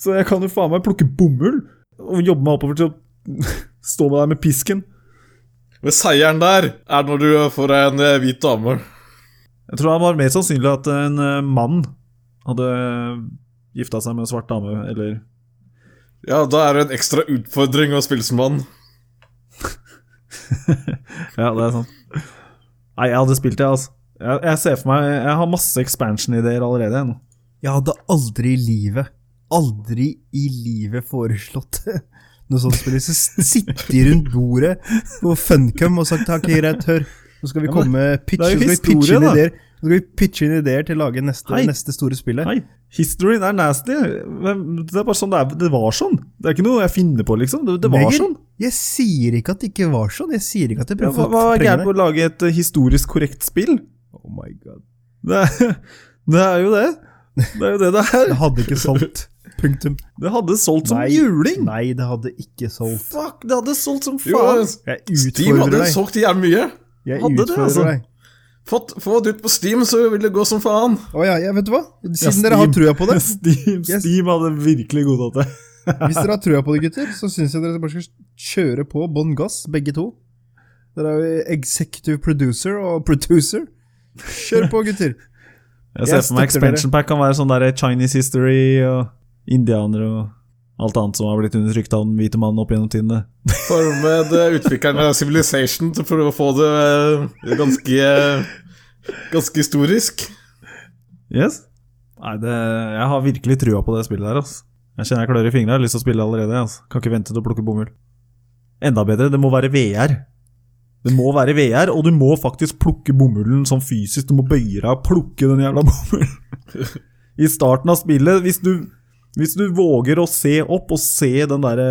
Speaker 1: Så jeg kan jo faen meg plukke bomull og jobbe meg oppover til å stå med der med pisken.
Speaker 3: Men seieren der er når du får deg en eh, hvit dame.
Speaker 1: Jeg tror det var mer sannsynlig at en eh, mann hadde gifta seg med en svart dame, eller
Speaker 3: Ja, da er det en ekstra utfordring å spille som mann.
Speaker 1: Ja, det er sant. Nei, jeg hadde spilt det, altså. Jeg, jeg ser for meg Jeg har masse expansion-ideer allerede. jeg, Nå.
Speaker 2: Jeg hadde aldri i livet, aldri i livet foreslått noe sånt spill. Så s- sitte rundt bordet på Funcom og sagt takk, greit, hør, nå skal vi
Speaker 1: Ja, men
Speaker 2: komme pitch,
Speaker 1: det er jo
Speaker 2: nå skal vi pitche
Speaker 1: historie,
Speaker 2: inn
Speaker 1: da.
Speaker 2: ideer. Nå skal vi pitche inn ideer til å lage neste,
Speaker 1: Hei.
Speaker 2: neste store spillet.
Speaker 1: Nei, historien er nasty. Hvem- Det er bare sånn det er. Det var sånn. Det er ikke noe jeg finner på, liksom. Det, det var
Speaker 2: Meget.
Speaker 1: sånn.
Speaker 2: Jeg sier ikke at det ikke var sånn. Jeg sier ikke at jeg
Speaker 1: Ja,
Speaker 2: prøver
Speaker 1: hva,
Speaker 2: å
Speaker 1: hva er
Speaker 2: fortrenge
Speaker 1: gærent med å lage et eh, historisk korrekt spill?
Speaker 2: Oh my god.
Speaker 1: Det er, det er jo det. Det er jo det det er.
Speaker 2: Det hadde ikke solgt. Punktum.
Speaker 1: Det hadde solgt som
Speaker 2: Nei.
Speaker 1: juling!
Speaker 2: Nei, det hadde ikke solgt.
Speaker 1: Fuck, det hadde solgt som
Speaker 3: Jo, eh,
Speaker 1: faen!
Speaker 2: Jeg
Speaker 3: Steam
Speaker 2: utfordrer
Speaker 3: hadde
Speaker 2: deg.
Speaker 3: solgt jævlig mye.
Speaker 2: Jeg
Speaker 1: Hadde det, altså.
Speaker 2: utfordrer deg.
Speaker 3: Fått, få det ut på Steam, så vil det gå som faen.
Speaker 2: Å ja, ja, vet du hva? Siden
Speaker 1: Ja,
Speaker 2: dere har
Speaker 1: Steam.
Speaker 2: trua på det,
Speaker 1: Steam,
Speaker 2: Yes.
Speaker 1: Steam hadde virkelig godtatt det.
Speaker 2: Hvis dere har trua på det, gutter, så syns jeg dere bare skal kjøre på bånn gass, begge to. Dere er jo executive producer og producer. Kjør på, gutter!
Speaker 1: Jeg ser
Speaker 2: Jeg
Speaker 1: for meg
Speaker 2: støtter dere.
Speaker 1: expansion pack kan være sånn der Chinese history og indianere og alt annet som har blitt undertrykt av den hvite mannen opp gjennom tidene.
Speaker 3: Formed eh, utviklerne av Civilization til å prøve å få det eh, ganske eh, Ganske historisk.
Speaker 1: Yes? Nei, det, jeg har virkelig trua på det spillet der, altså. Jeg kjenner jeg klør i fingra, jeg har lyst til å spille allerede. Altså. Kan ikke vente til å plukke bomull. Enda bedre, det må være VR. Det må være VR, og du må faktisk plukke bomullen sånn fysisk. Du må bøye deg og plukke den jævla bomullen. I starten av spillet, hvis du, hvis du våger å se opp og se den derre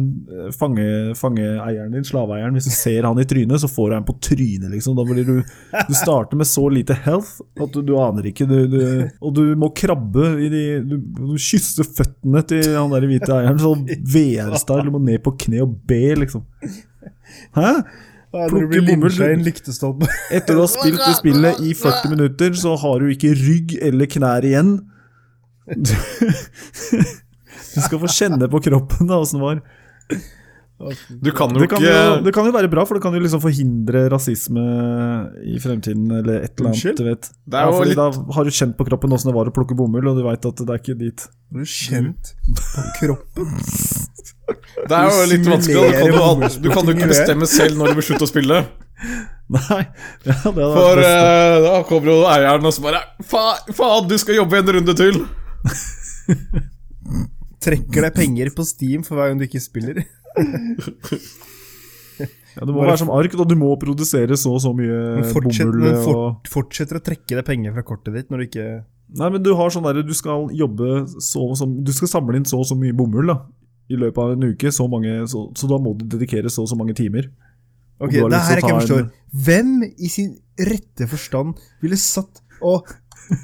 Speaker 1: eh, fange, fangeeieren din, slaveeieren, hvis du ser han i trynet, så får du en på trynet, liksom. Da blir du du starter med så lite health at du, du aner ikke. Du, du, og du må krabbe i de Du, du kysser føttene til han der hvite eieren. Sånn VR-style. Du må ned på kne og be, liksom. Hæ?
Speaker 2: Ja,
Speaker 1: Plukke bomull.
Speaker 2: lynsja i en lyktestolpe.
Speaker 1: Etter du har spilt det spillet i 40 minutter, så har du ikke rygg eller knær igjen. Du, du skal få kjenne på kroppen da åssen det var.
Speaker 3: Du kan jo
Speaker 1: Det
Speaker 3: ikke
Speaker 1: kan jo, det kan jo være bra, for det kan jo liksom forhindre rasisme i fremtiden, eller et eller annet.
Speaker 2: Unnskyld?
Speaker 1: du vet.
Speaker 3: Det er
Speaker 1: ja,
Speaker 3: jo
Speaker 1: fordi
Speaker 3: litt-
Speaker 1: Da har du kjent på kroppen åssen det var å plukke bomull, og du veit at det er ikke dit.
Speaker 2: Har du kjent på kroppen?
Speaker 3: Det er jo litt vanskelig. da. Du kan jo, al- du kan jo ikke bestemme selv når du vil slutte å spille.
Speaker 1: Nei, ja, det hadde vært
Speaker 3: For
Speaker 1: best.
Speaker 3: eh, da kommer jo eieren og så bare Fa, Faen, du skal jobbe en runde til!
Speaker 2: Trekker deg penger på Steam for hver gang du ikke spiller?
Speaker 1: ja, det må være som ark, og du må produsere så og så mye
Speaker 2: Men fortsett,
Speaker 1: bomull.
Speaker 2: men
Speaker 1: og...
Speaker 2: fort, fortsetter å trekke deg penger fra kortet ditt når du ikke
Speaker 1: Nei, men du har sånn derre Du skal jobbe så og så Du skal samle inn så og så mye bomull da i løpet av en uke, så, mange, så, så da må du dedikere så og så mange timer.
Speaker 2: Ok,
Speaker 1: du har
Speaker 2: det
Speaker 1: lyst til å
Speaker 2: her er ikke jeg
Speaker 1: ta
Speaker 2: forstår.
Speaker 1: en-
Speaker 2: Hvem i sin rette forstand ville satt og
Speaker 1: Jeg,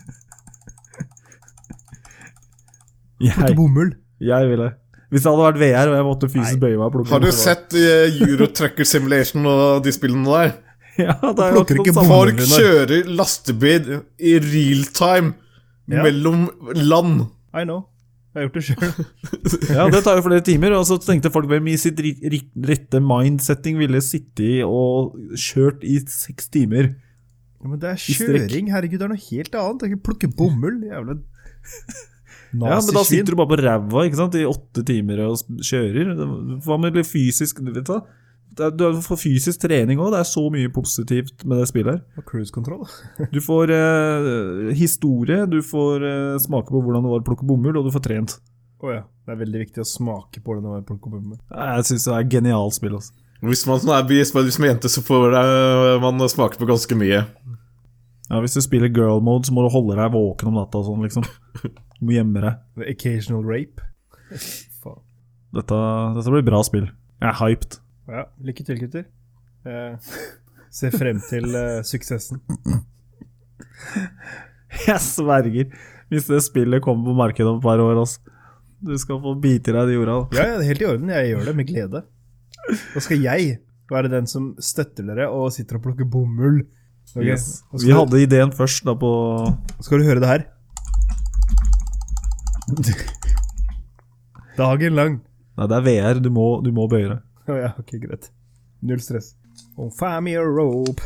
Speaker 2: plukket bomull?
Speaker 1: jeg ville Hvis det hadde vært VR og jeg måtte fysisk bøye meg og plukke
Speaker 3: Har du
Speaker 1: bomull, så-
Speaker 3: sett eh, Euro Trucker Simulation og de spillene der?
Speaker 1: Ja, det er jo
Speaker 2: Plukker
Speaker 1: akkurat
Speaker 2: ikke
Speaker 1: samme.
Speaker 2: bomull.
Speaker 3: Folk kjører lastebil i real time
Speaker 2: Ja.
Speaker 3: mellom land.
Speaker 2: I know. Jeg har gjort det sjøl.
Speaker 1: Ja, det tar jo flere timer. Og så tenkte folk hvem i sitt ri- ri- rette mindsetting ville sittet i og kjørt i seks timer.
Speaker 2: Ja, men det er
Speaker 1: I strekk.
Speaker 2: kjøring, herregud, det er noe helt annet. Jeg kan plukke bomull, jævla
Speaker 1: Ja, men da sitter
Speaker 2: nazisvin.
Speaker 1: du bare på ræva ikke sant, i åtte timer og s- kjører. Hva med litt fysisk du vet da? Det er, Du får fysisk trening òg. Det er så mye positivt med det spillet her.
Speaker 2: Og Cruisekontroll.
Speaker 1: Du får eh, historie, du får eh, smake på hvordan det var å plukke bomull, og du får trent.
Speaker 2: Å ja. Det er veldig viktig å smake på det når man plukker bomull.
Speaker 1: Jeg syns det er et genialt spill. Altså.
Speaker 3: Hvis man er, hvis man hvis man er liksom jente, så får eh, man smake på ganske mye.
Speaker 1: Ja, hvis du spiller girl mode, så må du holde deg våken om natta og sånn, liksom. Du må gjemme deg.
Speaker 2: The occasional rape. Faen.
Speaker 1: Dette, dette blir bra spill. Jeg er hyped.
Speaker 2: Ja, lykke til, gutter. Eh, ser frem til eh, suksessen.
Speaker 1: Jeg sverger. Hvis det spillet kommer på markedet om et par år, altså. Du skal få bite i deg de jorda. da.
Speaker 2: Ja, ja, det er helt i orden. Jeg gjør det med glede. Da skal jeg være den som støtter dere og sitter og plukker bomull. Ok,
Speaker 1: Yes.
Speaker 2: og
Speaker 1: Vi
Speaker 2: skal,
Speaker 1: hadde ideen først, da, på
Speaker 2: skal du høre det her? Dagen lang.
Speaker 1: Nei, det er VR. Du må, du må bøye deg.
Speaker 2: Å ja, ok, greit. Null stress. Oh, find me a rope.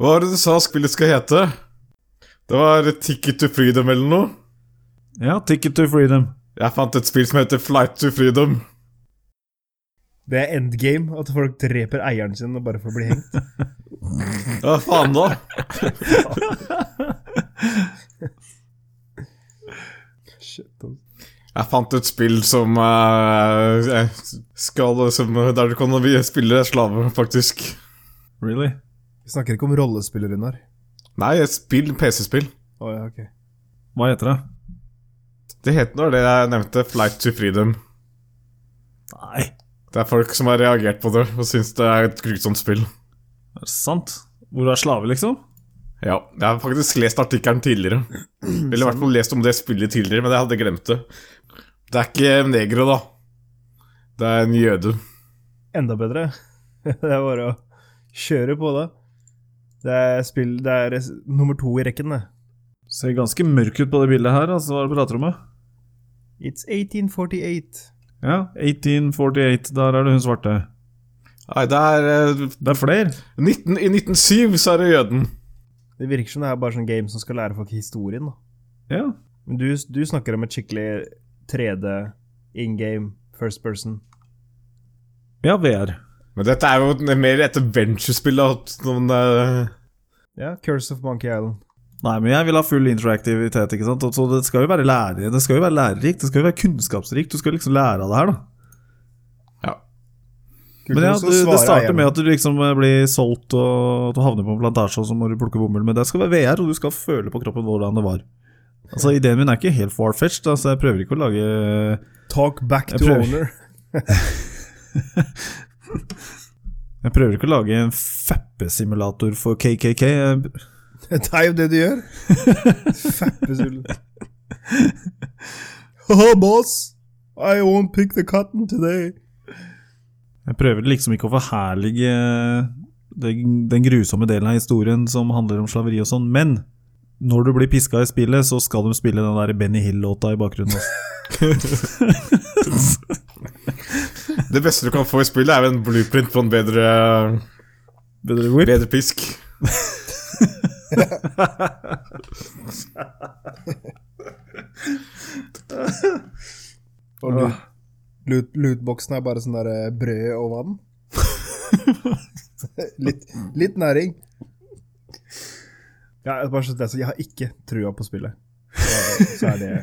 Speaker 3: Hva var det du sa spillet skal hete? Det var Ticket to Freedom eller noe?
Speaker 1: Ja, Ticket to Freedom.
Speaker 3: Jeg fant et spill som heter Flight to Freedom.
Speaker 2: Det er endgame, at folk dreper eieren sin og bare får bli hengt.
Speaker 3: Ja, faen da.
Speaker 2: Shit, ass.
Speaker 3: Jeg fant et spill som eh, jeg skal, som, Der du kan spille slave, faktisk.
Speaker 1: Really?
Speaker 2: Vi snakker ikke om rollespill, Runar.
Speaker 3: Nei, et spill, PC-spill.
Speaker 2: Å ja, ok.
Speaker 1: Hva heter det?
Speaker 3: Det heter nå det jeg nevnte, Flight to Freedom.
Speaker 1: Nei,
Speaker 3: Det er folk som har reagert på det og syns det er et grusomt spill.
Speaker 1: er det sant? Hvor du er slave, liksom?
Speaker 3: Ja, Jeg har faktisk lest artikkelen tidligere. Eller i hvert fall lest om det spillet tidligere, men jeg hadde glemt det. Det er ikke negre, da. Det er en jøde.
Speaker 2: Enda bedre. det er bare å kjøre på, da. Det er spill Det er s- nummer to i rekken, det.
Speaker 1: Ser ganske mørk ut på det bildet her, altså, hva er det du prater om? da?
Speaker 2: It's 1848.
Speaker 1: Ja, 1848, der er det hun svarte.
Speaker 3: Nei, det er eh,
Speaker 1: Det er flere.
Speaker 3: 19, I 1907 så er det jøden.
Speaker 2: Det virker som det er bare sånn game som skal lære folk historien, da.
Speaker 1: Ja.
Speaker 2: Men du, du snakker om et skikkelig 3D in game, first person.
Speaker 1: ja, VR.
Speaker 3: Men dette er jo mer et adventure-spill. da, Sånn, eh,
Speaker 2: Ja, Curse of Monkey Island.
Speaker 1: Nei, men jeg vil ha full interaktivitet, ikke sant? Og Så det skal jo være lærer, det skal jo være lærerikt, det skal jo være kunnskapsrikt, du skal liksom lære av det her, da.
Speaker 3: ja.
Speaker 1: Men ja, du, det starter med at du liksom eh, blir solgt og at du havner på en plantasje, og så må du plukke bomull. Men det skal være VR, og du skal føle på kroppen hvordan det var. Altså, Ideen min er ikke helt far-fetched, altså, jeg prøver ikke å lage
Speaker 2: Talk back to
Speaker 1: Jeg prøver.
Speaker 2: owner.
Speaker 1: Jeg prøver ikke å lage en fappesimulator for KKK. Jeg-
Speaker 2: Det er jo det du gjør. Fappesull. Haha, boss! I won't pick the cotton today.
Speaker 1: Jeg prøver liksom ikke å forherlige den, den grusomme delen av historien som handler om slaveri og sånn, men når du blir piska i spillet, så skal de spille den der Benny Hill-låta i bakgrunnen. Også.
Speaker 3: Det beste du kan få i spillet, er jo en blueprint på en bedre,
Speaker 1: Bedre whip.
Speaker 3: bedre pisk.
Speaker 2: Og loot, loot, lootboksen er bare sånn der eh, brød og vann. litt, litt næring. Ja, jeg, bare så det, er så jeg har ikke trua på spillet. Så, så er det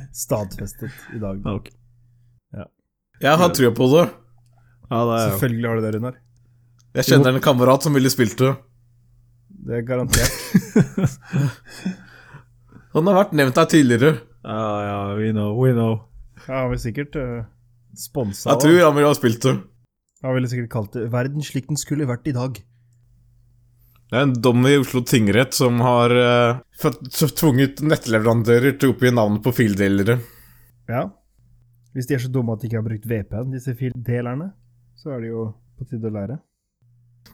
Speaker 2: stadfestet i dag.
Speaker 1: Ja, ok.
Speaker 3: Jeg har trua på det.
Speaker 1: ja, det er jo
Speaker 2: Selvfølgelig har du det, Runar.
Speaker 3: Jeg kjenner en kamerat som ville spilt det.
Speaker 2: Det er garantert.
Speaker 3: Han har vært nevnt her tidligere.
Speaker 1: ja, ja, we know, we know.
Speaker 2: Ja, han vil sikkert uh, sponsa
Speaker 3: Jeg tror han ville ha spilt det.
Speaker 2: Han ville sikkert kalt det 'Verden slik den skulle vært i dag'.
Speaker 3: Det er en dom i Oslo tingrett som har eh, fått- tvunget nettleverandører til å oppgi navnet på fildelere.
Speaker 2: Ja. Hvis de er så dumme at de ikke har brukt VPN, disse fildelerne, så er det jo på tide å lære.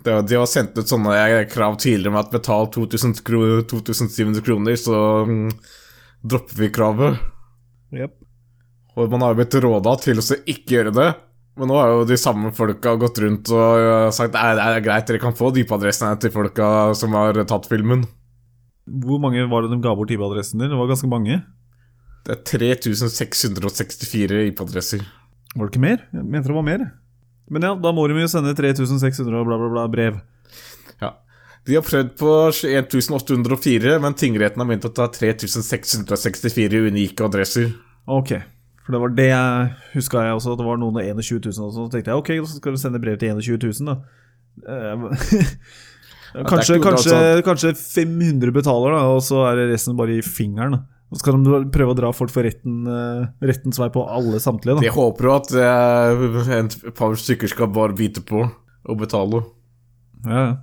Speaker 3: Det var- De har sendt ut sånne eh, krav tidligere med at betal 2000 kro 2700 kroner, så mm, dropper vi kravet.
Speaker 2: Yep.
Speaker 3: Og man har jo blitt råda til å så ikke gjøre det. Men nå har jo de samme folka gått rundt og eh, sagt Nei, det er greit, dere kan få dypeadressene til folka som har tatt filmen.
Speaker 1: Hvor mange var det de ga bort IP-adressen din? Det var ganske mange.
Speaker 3: Det er 3664 IP-adresser.
Speaker 1: Var det ikke mer? Jeg mente det var mer. Men ja, da må de jo sende 3600 og bla, bla, bla brev.
Speaker 3: Ja. De har prøvd på 1804, men tingretten har ment at det er 3664 unike adresser.
Speaker 1: Ok. For det var det jeg huska jeg også, at det var noen av 21 000. Og sånn, så tenkte jeg ok, så skal du sende brev til 21 000, da. Eh, kanskje,
Speaker 3: ikke noe
Speaker 1: kanskje, kanskje 500 betaler, da, og så er det resten bare i fingeren. da. Så skal de prøve å dra folk for retten, eh, rettens vei på alle samtlige. da.
Speaker 3: De håper jo at eh, en- et par stykker skal bare bite på og betale.
Speaker 1: Ja, ja.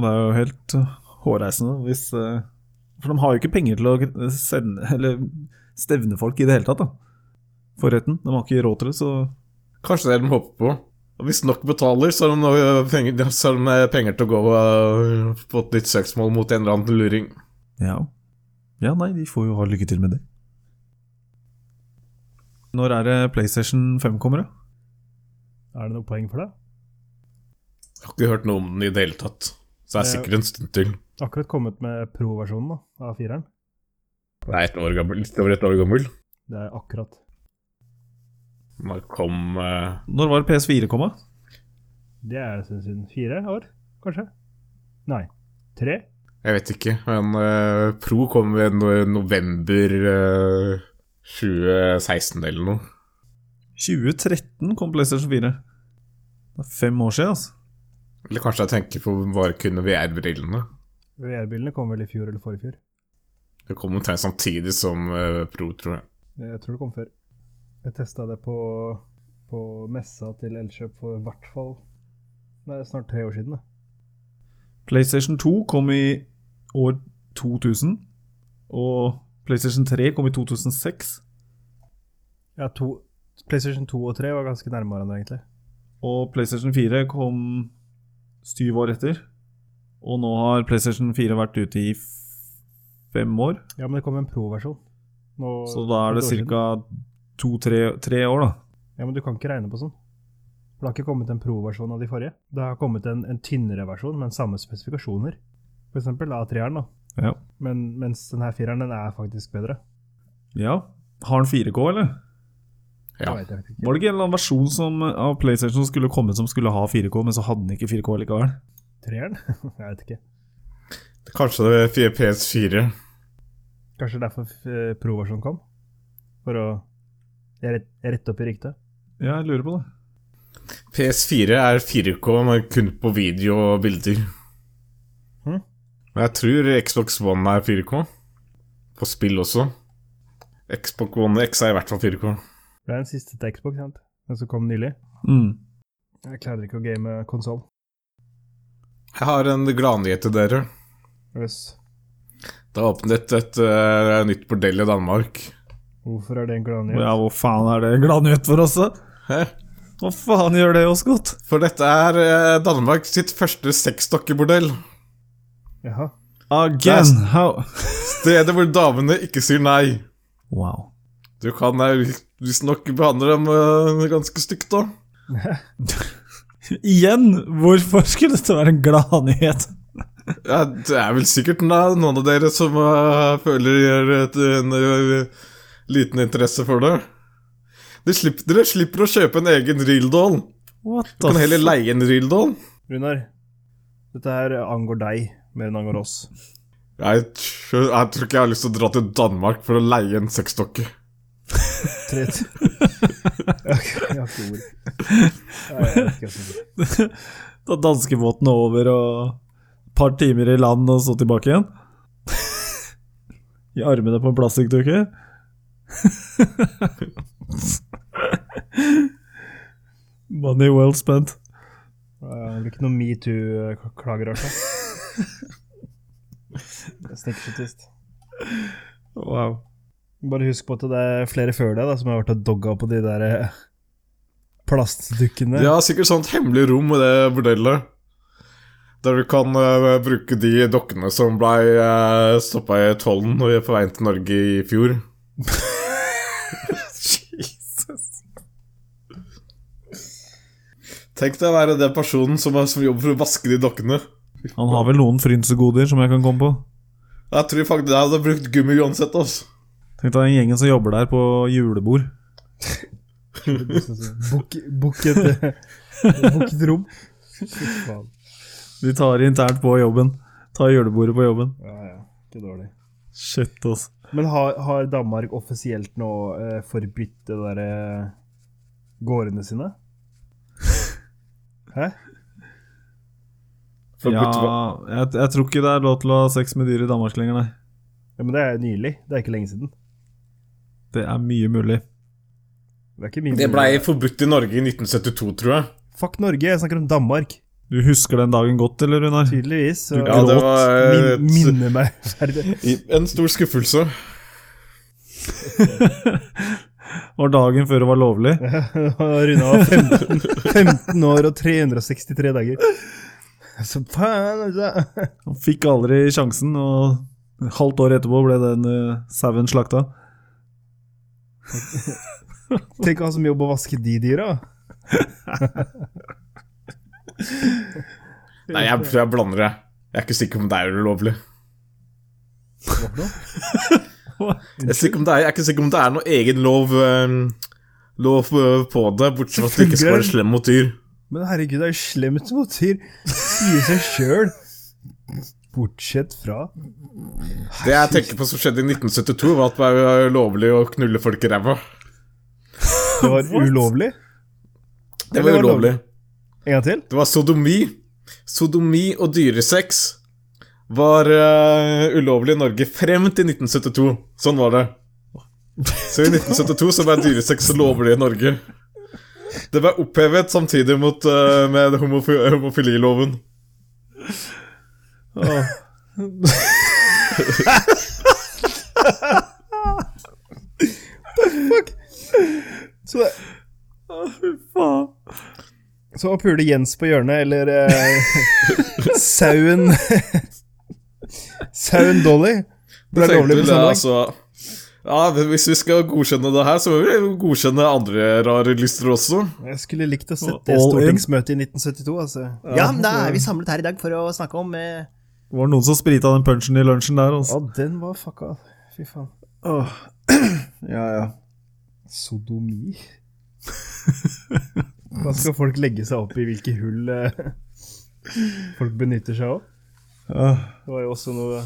Speaker 1: Og det er jo helt eh, hårreisende hvis eh, For de har jo ikke penger til å gr- sende, eller stevne folk i det hele tatt, da. For retten. De har ikke råd til det, så
Speaker 3: Kanskje det er det de håper på. Og hvis nok betaler, så har de, noe penger, så har de eh, penger til å gå øh, eh, på et nytt søksmål mot en eller annen luring.
Speaker 1: Ja. ja, nei, de får jo ha lykke til med det. Når er det PlayStation 5 kommer, da?
Speaker 2: Er det noe poeng for det?
Speaker 3: Jeg har ikke hørt noe om den i det hele tatt. Så det er
Speaker 2: Det-
Speaker 3: sikkert en stund til.
Speaker 2: Akkurat kommet med pro-versjonen da, av fireren.
Speaker 3: Den er ett år gammel, litt over ett år gammel.
Speaker 2: Det er akkurat.
Speaker 3: Den kom eh,
Speaker 1: Når var PS4 komma?
Speaker 2: Det er siden- siden fire år, kanskje? Nei, tre?
Speaker 3: Jeg vet ikke, men eh, Pro kom i no- november eh, 2016 eller noe.
Speaker 1: 2013 kom PlayStation 4. Det er fem år siden, altså.
Speaker 3: Eller kanskje jeg tenker på bare kunne VR-brillene.
Speaker 2: VR-bilene kom vel i fjor eller forrige fjor?
Speaker 3: Det kom omtrent samtidig som eh, Pro, tror jeg.
Speaker 2: Jeg tror det kom før. Jeg testa det på, på messa til Elkjøp for i hvert fall Nei, snart tre år siden. da.
Speaker 1: PlayStation 2 kom i år 2000. Og PlayStation 3 kom i 2006.
Speaker 2: Ja, to, PlayStation 2 og 3 var ganske nærme hverandre, egentlig.
Speaker 1: Og PlayStation 4 kom syv år etter. Og nå har PlayStation 4 vært ute i f- fem år.
Speaker 2: Ja, men det kom en pro-versjon. Nå-
Speaker 1: Så da er
Speaker 2: et år
Speaker 1: det
Speaker 2: siden.
Speaker 1: ca. to-tre tre år, da.
Speaker 2: Ja, men du kan ikke regne på sånn. For det har ikke kommet en pro-versjon av de forrige. Det har kommet en, en tynnere versjon, men samme spesifikasjoner. For eksempel A3-eren, da.
Speaker 1: Ja.
Speaker 2: Men, mens den her fireren, den er faktisk bedre.
Speaker 1: ja. Har den 4K, eller?
Speaker 3: Ja.
Speaker 2: Det vet jeg faktisk ikke.
Speaker 1: Var det ikke en eller annen versjon som, av PlayStation som skulle komme som skulle ha 4K, men så hadde den ikke 4K likevel?
Speaker 2: Treeren? jeg vet ikke.
Speaker 3: Kanskje det er fire PS4.
Speaker 2: Kanskje derfor eh, pro-versjonen kom? For å rett, rette opp i ryktet?
Speaker 1: Ja, jeg lurer på det.
Speaker 3: PS4 er 4K, men kun på video og bilder.
Speaker 2: Hm?
Speaker 3: Men jeg tror Xbox One er 4K. På spill også. Xbox One X er i hvert fall 4K.
Speaker 2: Det er den siste til Xbox, sant? Den som kom nylig.
Speaker 1: Mm.
Speaker 2: Jeg klarer ikke å game konsoll.
Speaker 3: Jeg har en gladnyhet til dere.
Speaker 2: Yes.
Speaker 3: Det er åpnet et eh, nytt bordell i Danmark.
Speaker 2: Hvorfor er det en gladnyhet?
Speaker 1: Ja, hvor faen er det gladnyhet for oss, da?
Speaker 3: Hæ?
Speaker 1: Hva faen gjør det oss godt?
Speaker 3: For dette er eh, Danmark sitt første sexdokkebordell.
Speaker 2: Jaha.
Speaker 1: Again, how
Speaker 3: Stedet hvor damene ikke sier nei.
Speaker 1: Wow.
Speaker 3: Du kan eh, visstnok behandle dem eh, ganske stygt, da.
Speaker 1: Igjen, hvorfor skulle dette være en gladnyhet?
Speaker 3: Ja, det er vel sikkert na- noen av dere som eh, føler gjør et, en eh, liten interesse for det. De slipper, dere slipper å kjøpe en egen reeldoll.
Speaker 1: What
Speaker 3: Du
Speaker 1: the
Speaker 3: kan heller
Speaker 1: f...
Speaker 3: leie en reeldoll.
Speaker 2: Runar, dette her angår deg mer enn angår oss.
Speaker 3: Jeg, tr- jeg tror ikke jeg har lyst til å dra til Danmark for å leie en sexdokke.
Speaker 2: Tre t- Ok, Jeg har ikke ord. Nei, jeg vet ikke hva som skjer.
Speaker 1: Da danskebåten er over og et par timer i land og så tilbake igjen? I armene på en plastikkdukke? Money well spent.
Speaker 2: Det blir ikke noe metoo-klager, altså. Snikkertist.
Speaker 1: Wow.
Speaker 2: Bare husk på at det er flere før deg da, som har vært og dogga på de der eh, plastdukkene.
Speaker 3: De har sikkert sånt hemmelig rom i det bordellet. Der du kan eh, bruke de dokkene som blei uh, stoppa i tollen når vi er på veien til Norge i fjor.
Speaker 1: Jesus.
Speaker 3: Tenk deg å være den personen som, har- som jobber for å vaske de dokkene.
Speaker 1: Han har vel noen frynsegoder som jeg kan komme på?
Speaker 3: Jeg tror faktisk jeg hadde brukt gummi uansett. Altså.
Speaker 1: Tenk deg den gjengen som jobber der på julebord.
Speaker 2: sånn Bukk bukk et eh, bukk et rom. Fy faen.
Speaker 1: De tar internt på jobben. Tar julebordet på jobben.
Speaker 2: Ja, ja. Ikke dårlig.
Speaker 1: Shit, altså.
Speaker 2: Men har, har Danmark offisielt nå eh, forbudt det derre gårdene sine? Hæ?
Speaker 3: For
Speaker 1: Ja,
Speaker 3: gutt-
Speaker 1: jeg, jeg tror ikke det er lov til å ha sex med dyr i Danmark lenger, nei.
Speaker 2: Ja, men det er nylig. Det er ikke lenge siden.
Speaker 1: Det er mye mulig.
Speaker 2: Det er ikke min
Speaker 3: det blei forbudt i Norge i 1972, tror jeg.
Speaker 2: Fuck Norge, jeg snakker om Danmark.
Speaker 1: Du husker den dagen godt, eller, Runar?
Speaker 2: Tydeligvis. Så
Speaker 3: Ja, det var eh,
Speaker 2: min, minner meg ferdig.
Speaker 3: et- en stor skuffelse.
Speaker 1: Var dagen før det var lovlig?
Speaker 2: Runa var 15, 15 år og 363 dager. Så faen, altså.
Speaker 1: Han fikk aldri sjansen, eh, og et halvt år etterpå ble den uh, sauen slakta.
Speaker 2: Tenk å ha som jobb å vaske de dyra.
Speaker 3: Nei, jeg tror jeg blander det. Jeg er ikke sikker på om det er ulovlig. Jeg er, sikker om det er, jeg er ikke sikker om det er noen egen lov, eh, lov eh, på det, bortsett fra at du ikke skal være slem mot dyr.
Speaker 2: Men herregud, det er jo slemt mot dyr. Sier seg sjøl. Bortsett fra
Speaker 3: Det jeg tenker på som skjedde i 1972, var at det var ulovlig å knulle folk i ræva.
Speaker 2: Det var ulovlig.
Speaker 3: Det var ulovlig.
Speaker 2: En gang til.
Speaker 3: Det var sodomi. Sodomi og dyresex var eh, ulovlig i Norge frem til 1972. Sånn var det. Så i 1972 så var dyresex lovlig i Norge. Det ble opphevet samtidig mot, eh, med homofi homofililoven.
Speaker 2: Så det
Speaker 1: Faen.
Speaker 2: Så å pule Jens på hjørnet, eller eh, sauen Sauen Dolly.
Speaker 3: Det
Speaker 2: Ble lovlig på
Speaker 3: tenkte vel,
Speaker 2: søndag.
Speaker 3: altså ja, Hvis vi skal godkjenne det her, så må vi godkjenne andre rare lyster også.
Speaker 2: Jeg skulle likt å sett det
Speaker 1: All in.
Speaker 2: stortingsmøtet i 1972, altså.
Speaker 4: Ja, men da er vi samlet her i dag for å snakke om eh,
Speaker 1: Det var noen som sprita den punchen i lunsjen der. Altså.
Speaker 2: Ja, den var fucka. Fy faen.
Speaker 1: Ja, ja.
Speaker 2: Sodomi. Da skal folk legge seg opp i hvilke hull eh, folk benytter seg av. Det var jo også noe å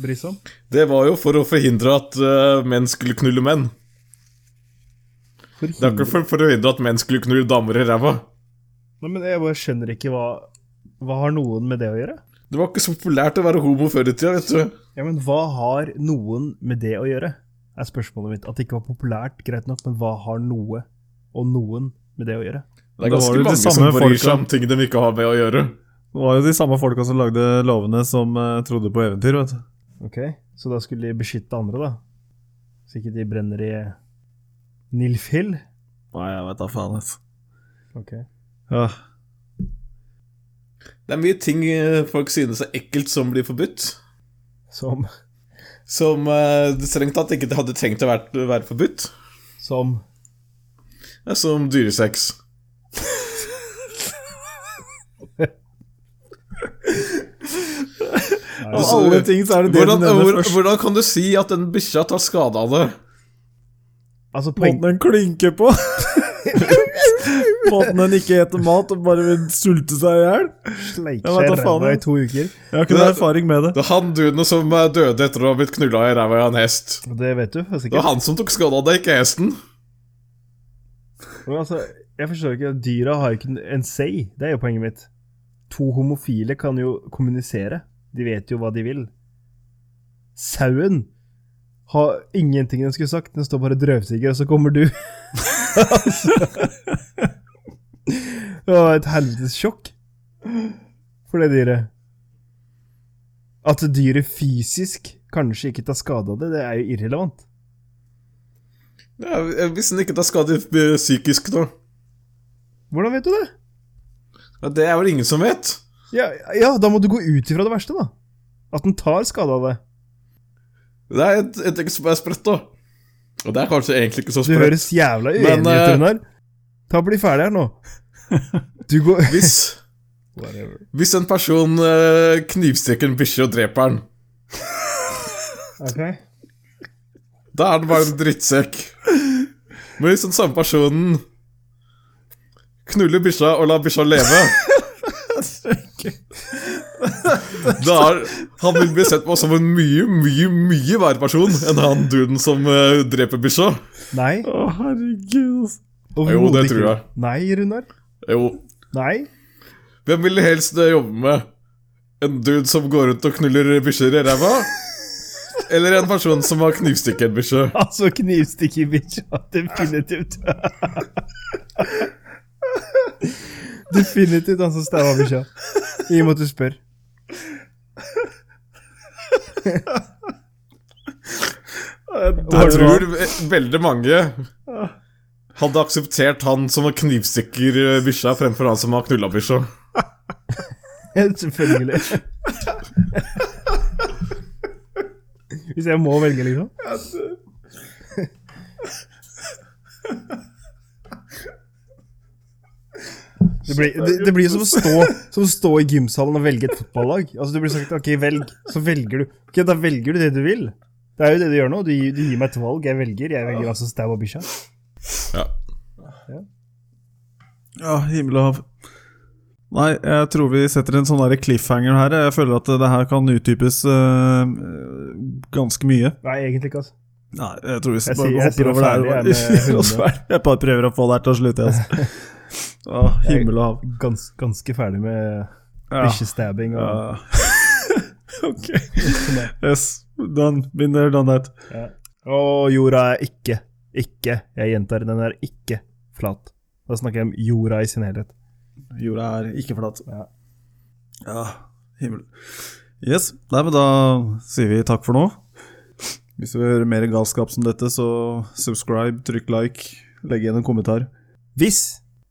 Speaker 2: bry seg om.
Speaker 3: Det var jo for å forhindre at eh, menn skulle knulle menn. Det er ikke for, for å forhindre at menn skulle knulle damer i ræva.
Speaker 2: Nei, men jeg bare skjønner ikke hva Hva har noen med det å gjøre?
Speaker 3: Det var ikke så populært å være homo før i tida, vet du.
Speaker 2: Ja, men hva har noen med det å gjøre? Er spørsmålet mitt. At det ikke var populært, greit nok, men hva har noe og noen med det å gjøre?
Speaker 3: Det er
Speaker 1: Da var
Speaker 3: ganske
Speaker 1: det de
Speaker 3: mange som
Speaker 1: samme
Speaker 3: bryr seg
Speaker 1: folka.
Speaker 3: om ting de ikke har med å gjøre.
Speaker 1: Det var jo de samme folka som lagde lovene, som eh, trodde på eventyr. vet du.
Speaker 2: Ok, Så da skulle de beskytte andre, da? Så ikke de brenner i Nilfhill?
Speaker 1: Nei, jeg veit da faen. Altså.
Speaker 2: Ok.
Speaker 1: Ja.
Speaker 3: Det er mye ting eh, folk synes er ekkelt som blir forbudt.
Speaker 2: Som
Speaker 3: Som eh, det strengt tatt ikke hadde trengt å være, være forbudt.
Speaker 2: Som
Speaker 3: Det er Som dyresex.
Speaker 1: Av
Speaker 2: Altså,
Speaker 1: alle ting så er det det du
Speaker 3: Hvordan,
Speaker 1: nevner
Speaker 3: hvor,
Speaker 1: først.
Speaker 3: hvordan kan du si at den bikkja tar skade av det?
Speaker 2: Altså, poeng,
Speaker 1: Måten den klinker på. Måten den ikke eter mat og bare vil sulte seg i hjel.
Speaker 2: sleike
Speaker 1: Jeg vet da
Speaker 2: seg
Speaker 1: faen,
Speaker 2: ræva
Speaker 1: jeg.
Speaker 2: i to uker.
Speaker 1: Jeg har ikke noe erfaring med det.
Speaker 3: Det var han duden som eh, døde etter å ha blitt knulla i ræva av en hest.
Speaker 2: Og Det vet du for
Speaker 3: Det var
Speaker 2: sikkert.
Speaker 3: han som tok skade av det, ikke hesten.
Speaker 2: Men altså, jeg forstår ikke. Dyra har jo ikke en say. Det er jo poenget mitt. To homofile kan jo kommunisere. De vet jo hva de vil. Sauen har ingenting den skulle sagt. Den står bare og drøvtygger, og så kommer du. det var et helvetes sjokk for det dyret. At dyret fysisk kanskje ikke tar skade av det, det er jo irrelevant.
Speaker 3: Ja, hvis den ikke tar skade eh, psykisk, da.
Speaker 2: Hvordan vet du det?
Speaker 3: Ja, det er vel ingen som vet.
Speaker 2: Ja, ja, da må du gå ut ifra det verste, da. At den tar skade av det.
Speaker 3: Det er et, et ting som er sprøtt, da. Og det er kanskje egentlig ikke så
Speaker 2: Du
Speaker 3: sprøtt.
Speaker 2: høres jævla
Speaker 3: Men,
Speaker 2: uenig ut,
Speaker 3: eh,
Speaker 2: Runar. Ta og Bli ferdig her nå. Du går
Speaker 3: Hvis, hvis en person eh, knivstikker en bikkje og dreper den,
Speaker 2: Ok.
Speaker 3: da er den bare en drittsekk. Men hvis den samme personen knuller bikkja og lar bikkja leve Da er han vil bli sett på som en mye, mye, mye verre person enn han duden som eh, dreper bikkja.
Speaker 2: Nei.
Speaker 1: Å, herregud, altså.
Speaker 3: Jo, det
Speaker 2: overhodet
Speaker 3: tror jeg.
Speaker 2: ikke. Nei, Runar.
Speaker 3: Jo,
Speaker 2: Nei.
Speaker 3: Hvem vil du helst eh, jobbe med? En dude som går rundt og knuller bikkjer i ræva? Eller en person som har knivstikket en bikkje?
Speaker 2: Altså knivstikke i bikkja. Definitivt. Definitivt altså, han som staua bikkja. I og med at du spør.
Speaker 3: Jeg tror ve- veldig mange hadde akseptert han som knivstikker eh, bikkja, fremfor han som har knulla bikkja.
Speaker 2: Selvfølgelig. Hvis jeg må velge, liksom. Det blir, det, det blir som, å stå, som å stå i gymsalen og velge et fotballag. Altså, du blir sagt ok, velg, så velger du. Ok, Da velger du det du vil. Det er jo det du gjør nå. Du, gir- du gir meg et valg. Jeg velger. Jeg velger altså stau og bikkja.
Speaker 1: Ja, himmel og hav. Nei, jeg tror vi setter en sånn der cliffhanger her. Jeg føler at det her kan utdypes øh, ganske mye.
Speaker 2: Nei, egentlig ikke, altså.
Speaker 1: Nei, jeg tror vi
Speaker 2: Jeg
Speaker 1: bare
Speaker 2: sier- jeg
Speaker 1: hopper
Speaker 2: sier oss
Speaker 1: over det her.
Speaker 2: ferdig,
Speaker 1: og
Speaker 2: jeg er med
Speaker 1: bare gjør oss
Speaker 2: hundre.
Speaker 1: ferdig. Jeg bare prøver å få det her til å slutte. Altså. Å, himmel og hav.
Speaker 2: Gans, ganske ferdig med
Speaker 1: Ja.
Speaker 2: bikkjestabbing. og-
Speaker 1: Ja. ok. Yes. Done. Been there, done that.
Speaker 2: Og jorda er ikke, ikke, jeg gjentar, den er ikke flat. Da snakker jeg om jorda i sin helhet.
Speaker 1: Jorda er ikke flat.
Speaker 2: Ja.
Speaker 1: Ja, himmel. Yes. Nei, men da sier vi takk for nå. Hvis du vil høre mer galskap som dette, så subscribe, trykk like, legg igjen en kommentar.
Speaker 2: Hvis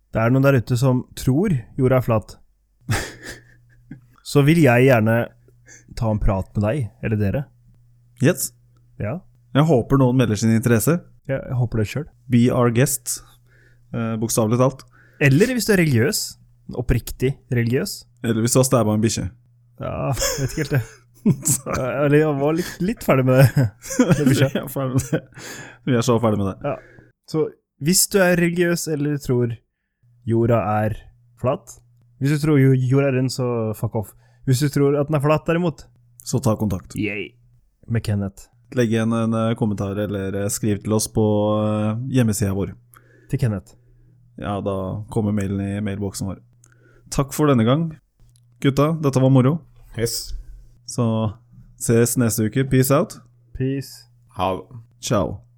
Speaker 2: det er noen der ute som tror jorda er flat, så vil jeg gjerne ta en prat med deg, eller dere.
Speaker 1: Yes.
Speaker 2: Ja,
Speaker 1: Jeg håper noen melder sin interesse.
Speaker 2: jeg, jeg håper det sjøl.
Speaker 1: Be our guest. Eh, Bokstavelig talt.
Speaker 2: Eller hvis du er religiøs. Oppriktig religiøs.
Speaker 1: Eller hvis du har stabba en bikkje.
Speaker 2: Ja, jeg vet ikke helt det. Eller jeg var litt, litt ferdig med det.
Speaker 1: Vi er ferdig med det. Vi er så ferdig med det.
Speaker 2: Så hvis du er religiøs eller tror jorda er flat Hvis du tror jo- jorda er rund, så fuck off. Hvis du tror at den er flat, derimot
Speaker 1: Så ta kontakt.
Speaker 2: Yay. Med Kenneth.
Speaker 1: Legg igjen en eh, kommentar eller eh, skriv til oss på eh, hjemmesida vår.
Speaker 2: Til Kenneth.
Speaker 1: Ja, da kommer mailen i mailboksen vår. Takk for denne gang. Gutta, dette var moro.
Speaker 3: Yes.
Speaker 1: Så ses neste uke. Peace out.
Speaker 2: Peace.
Speaker 3: Ha det.
Speaker 1: Ciao.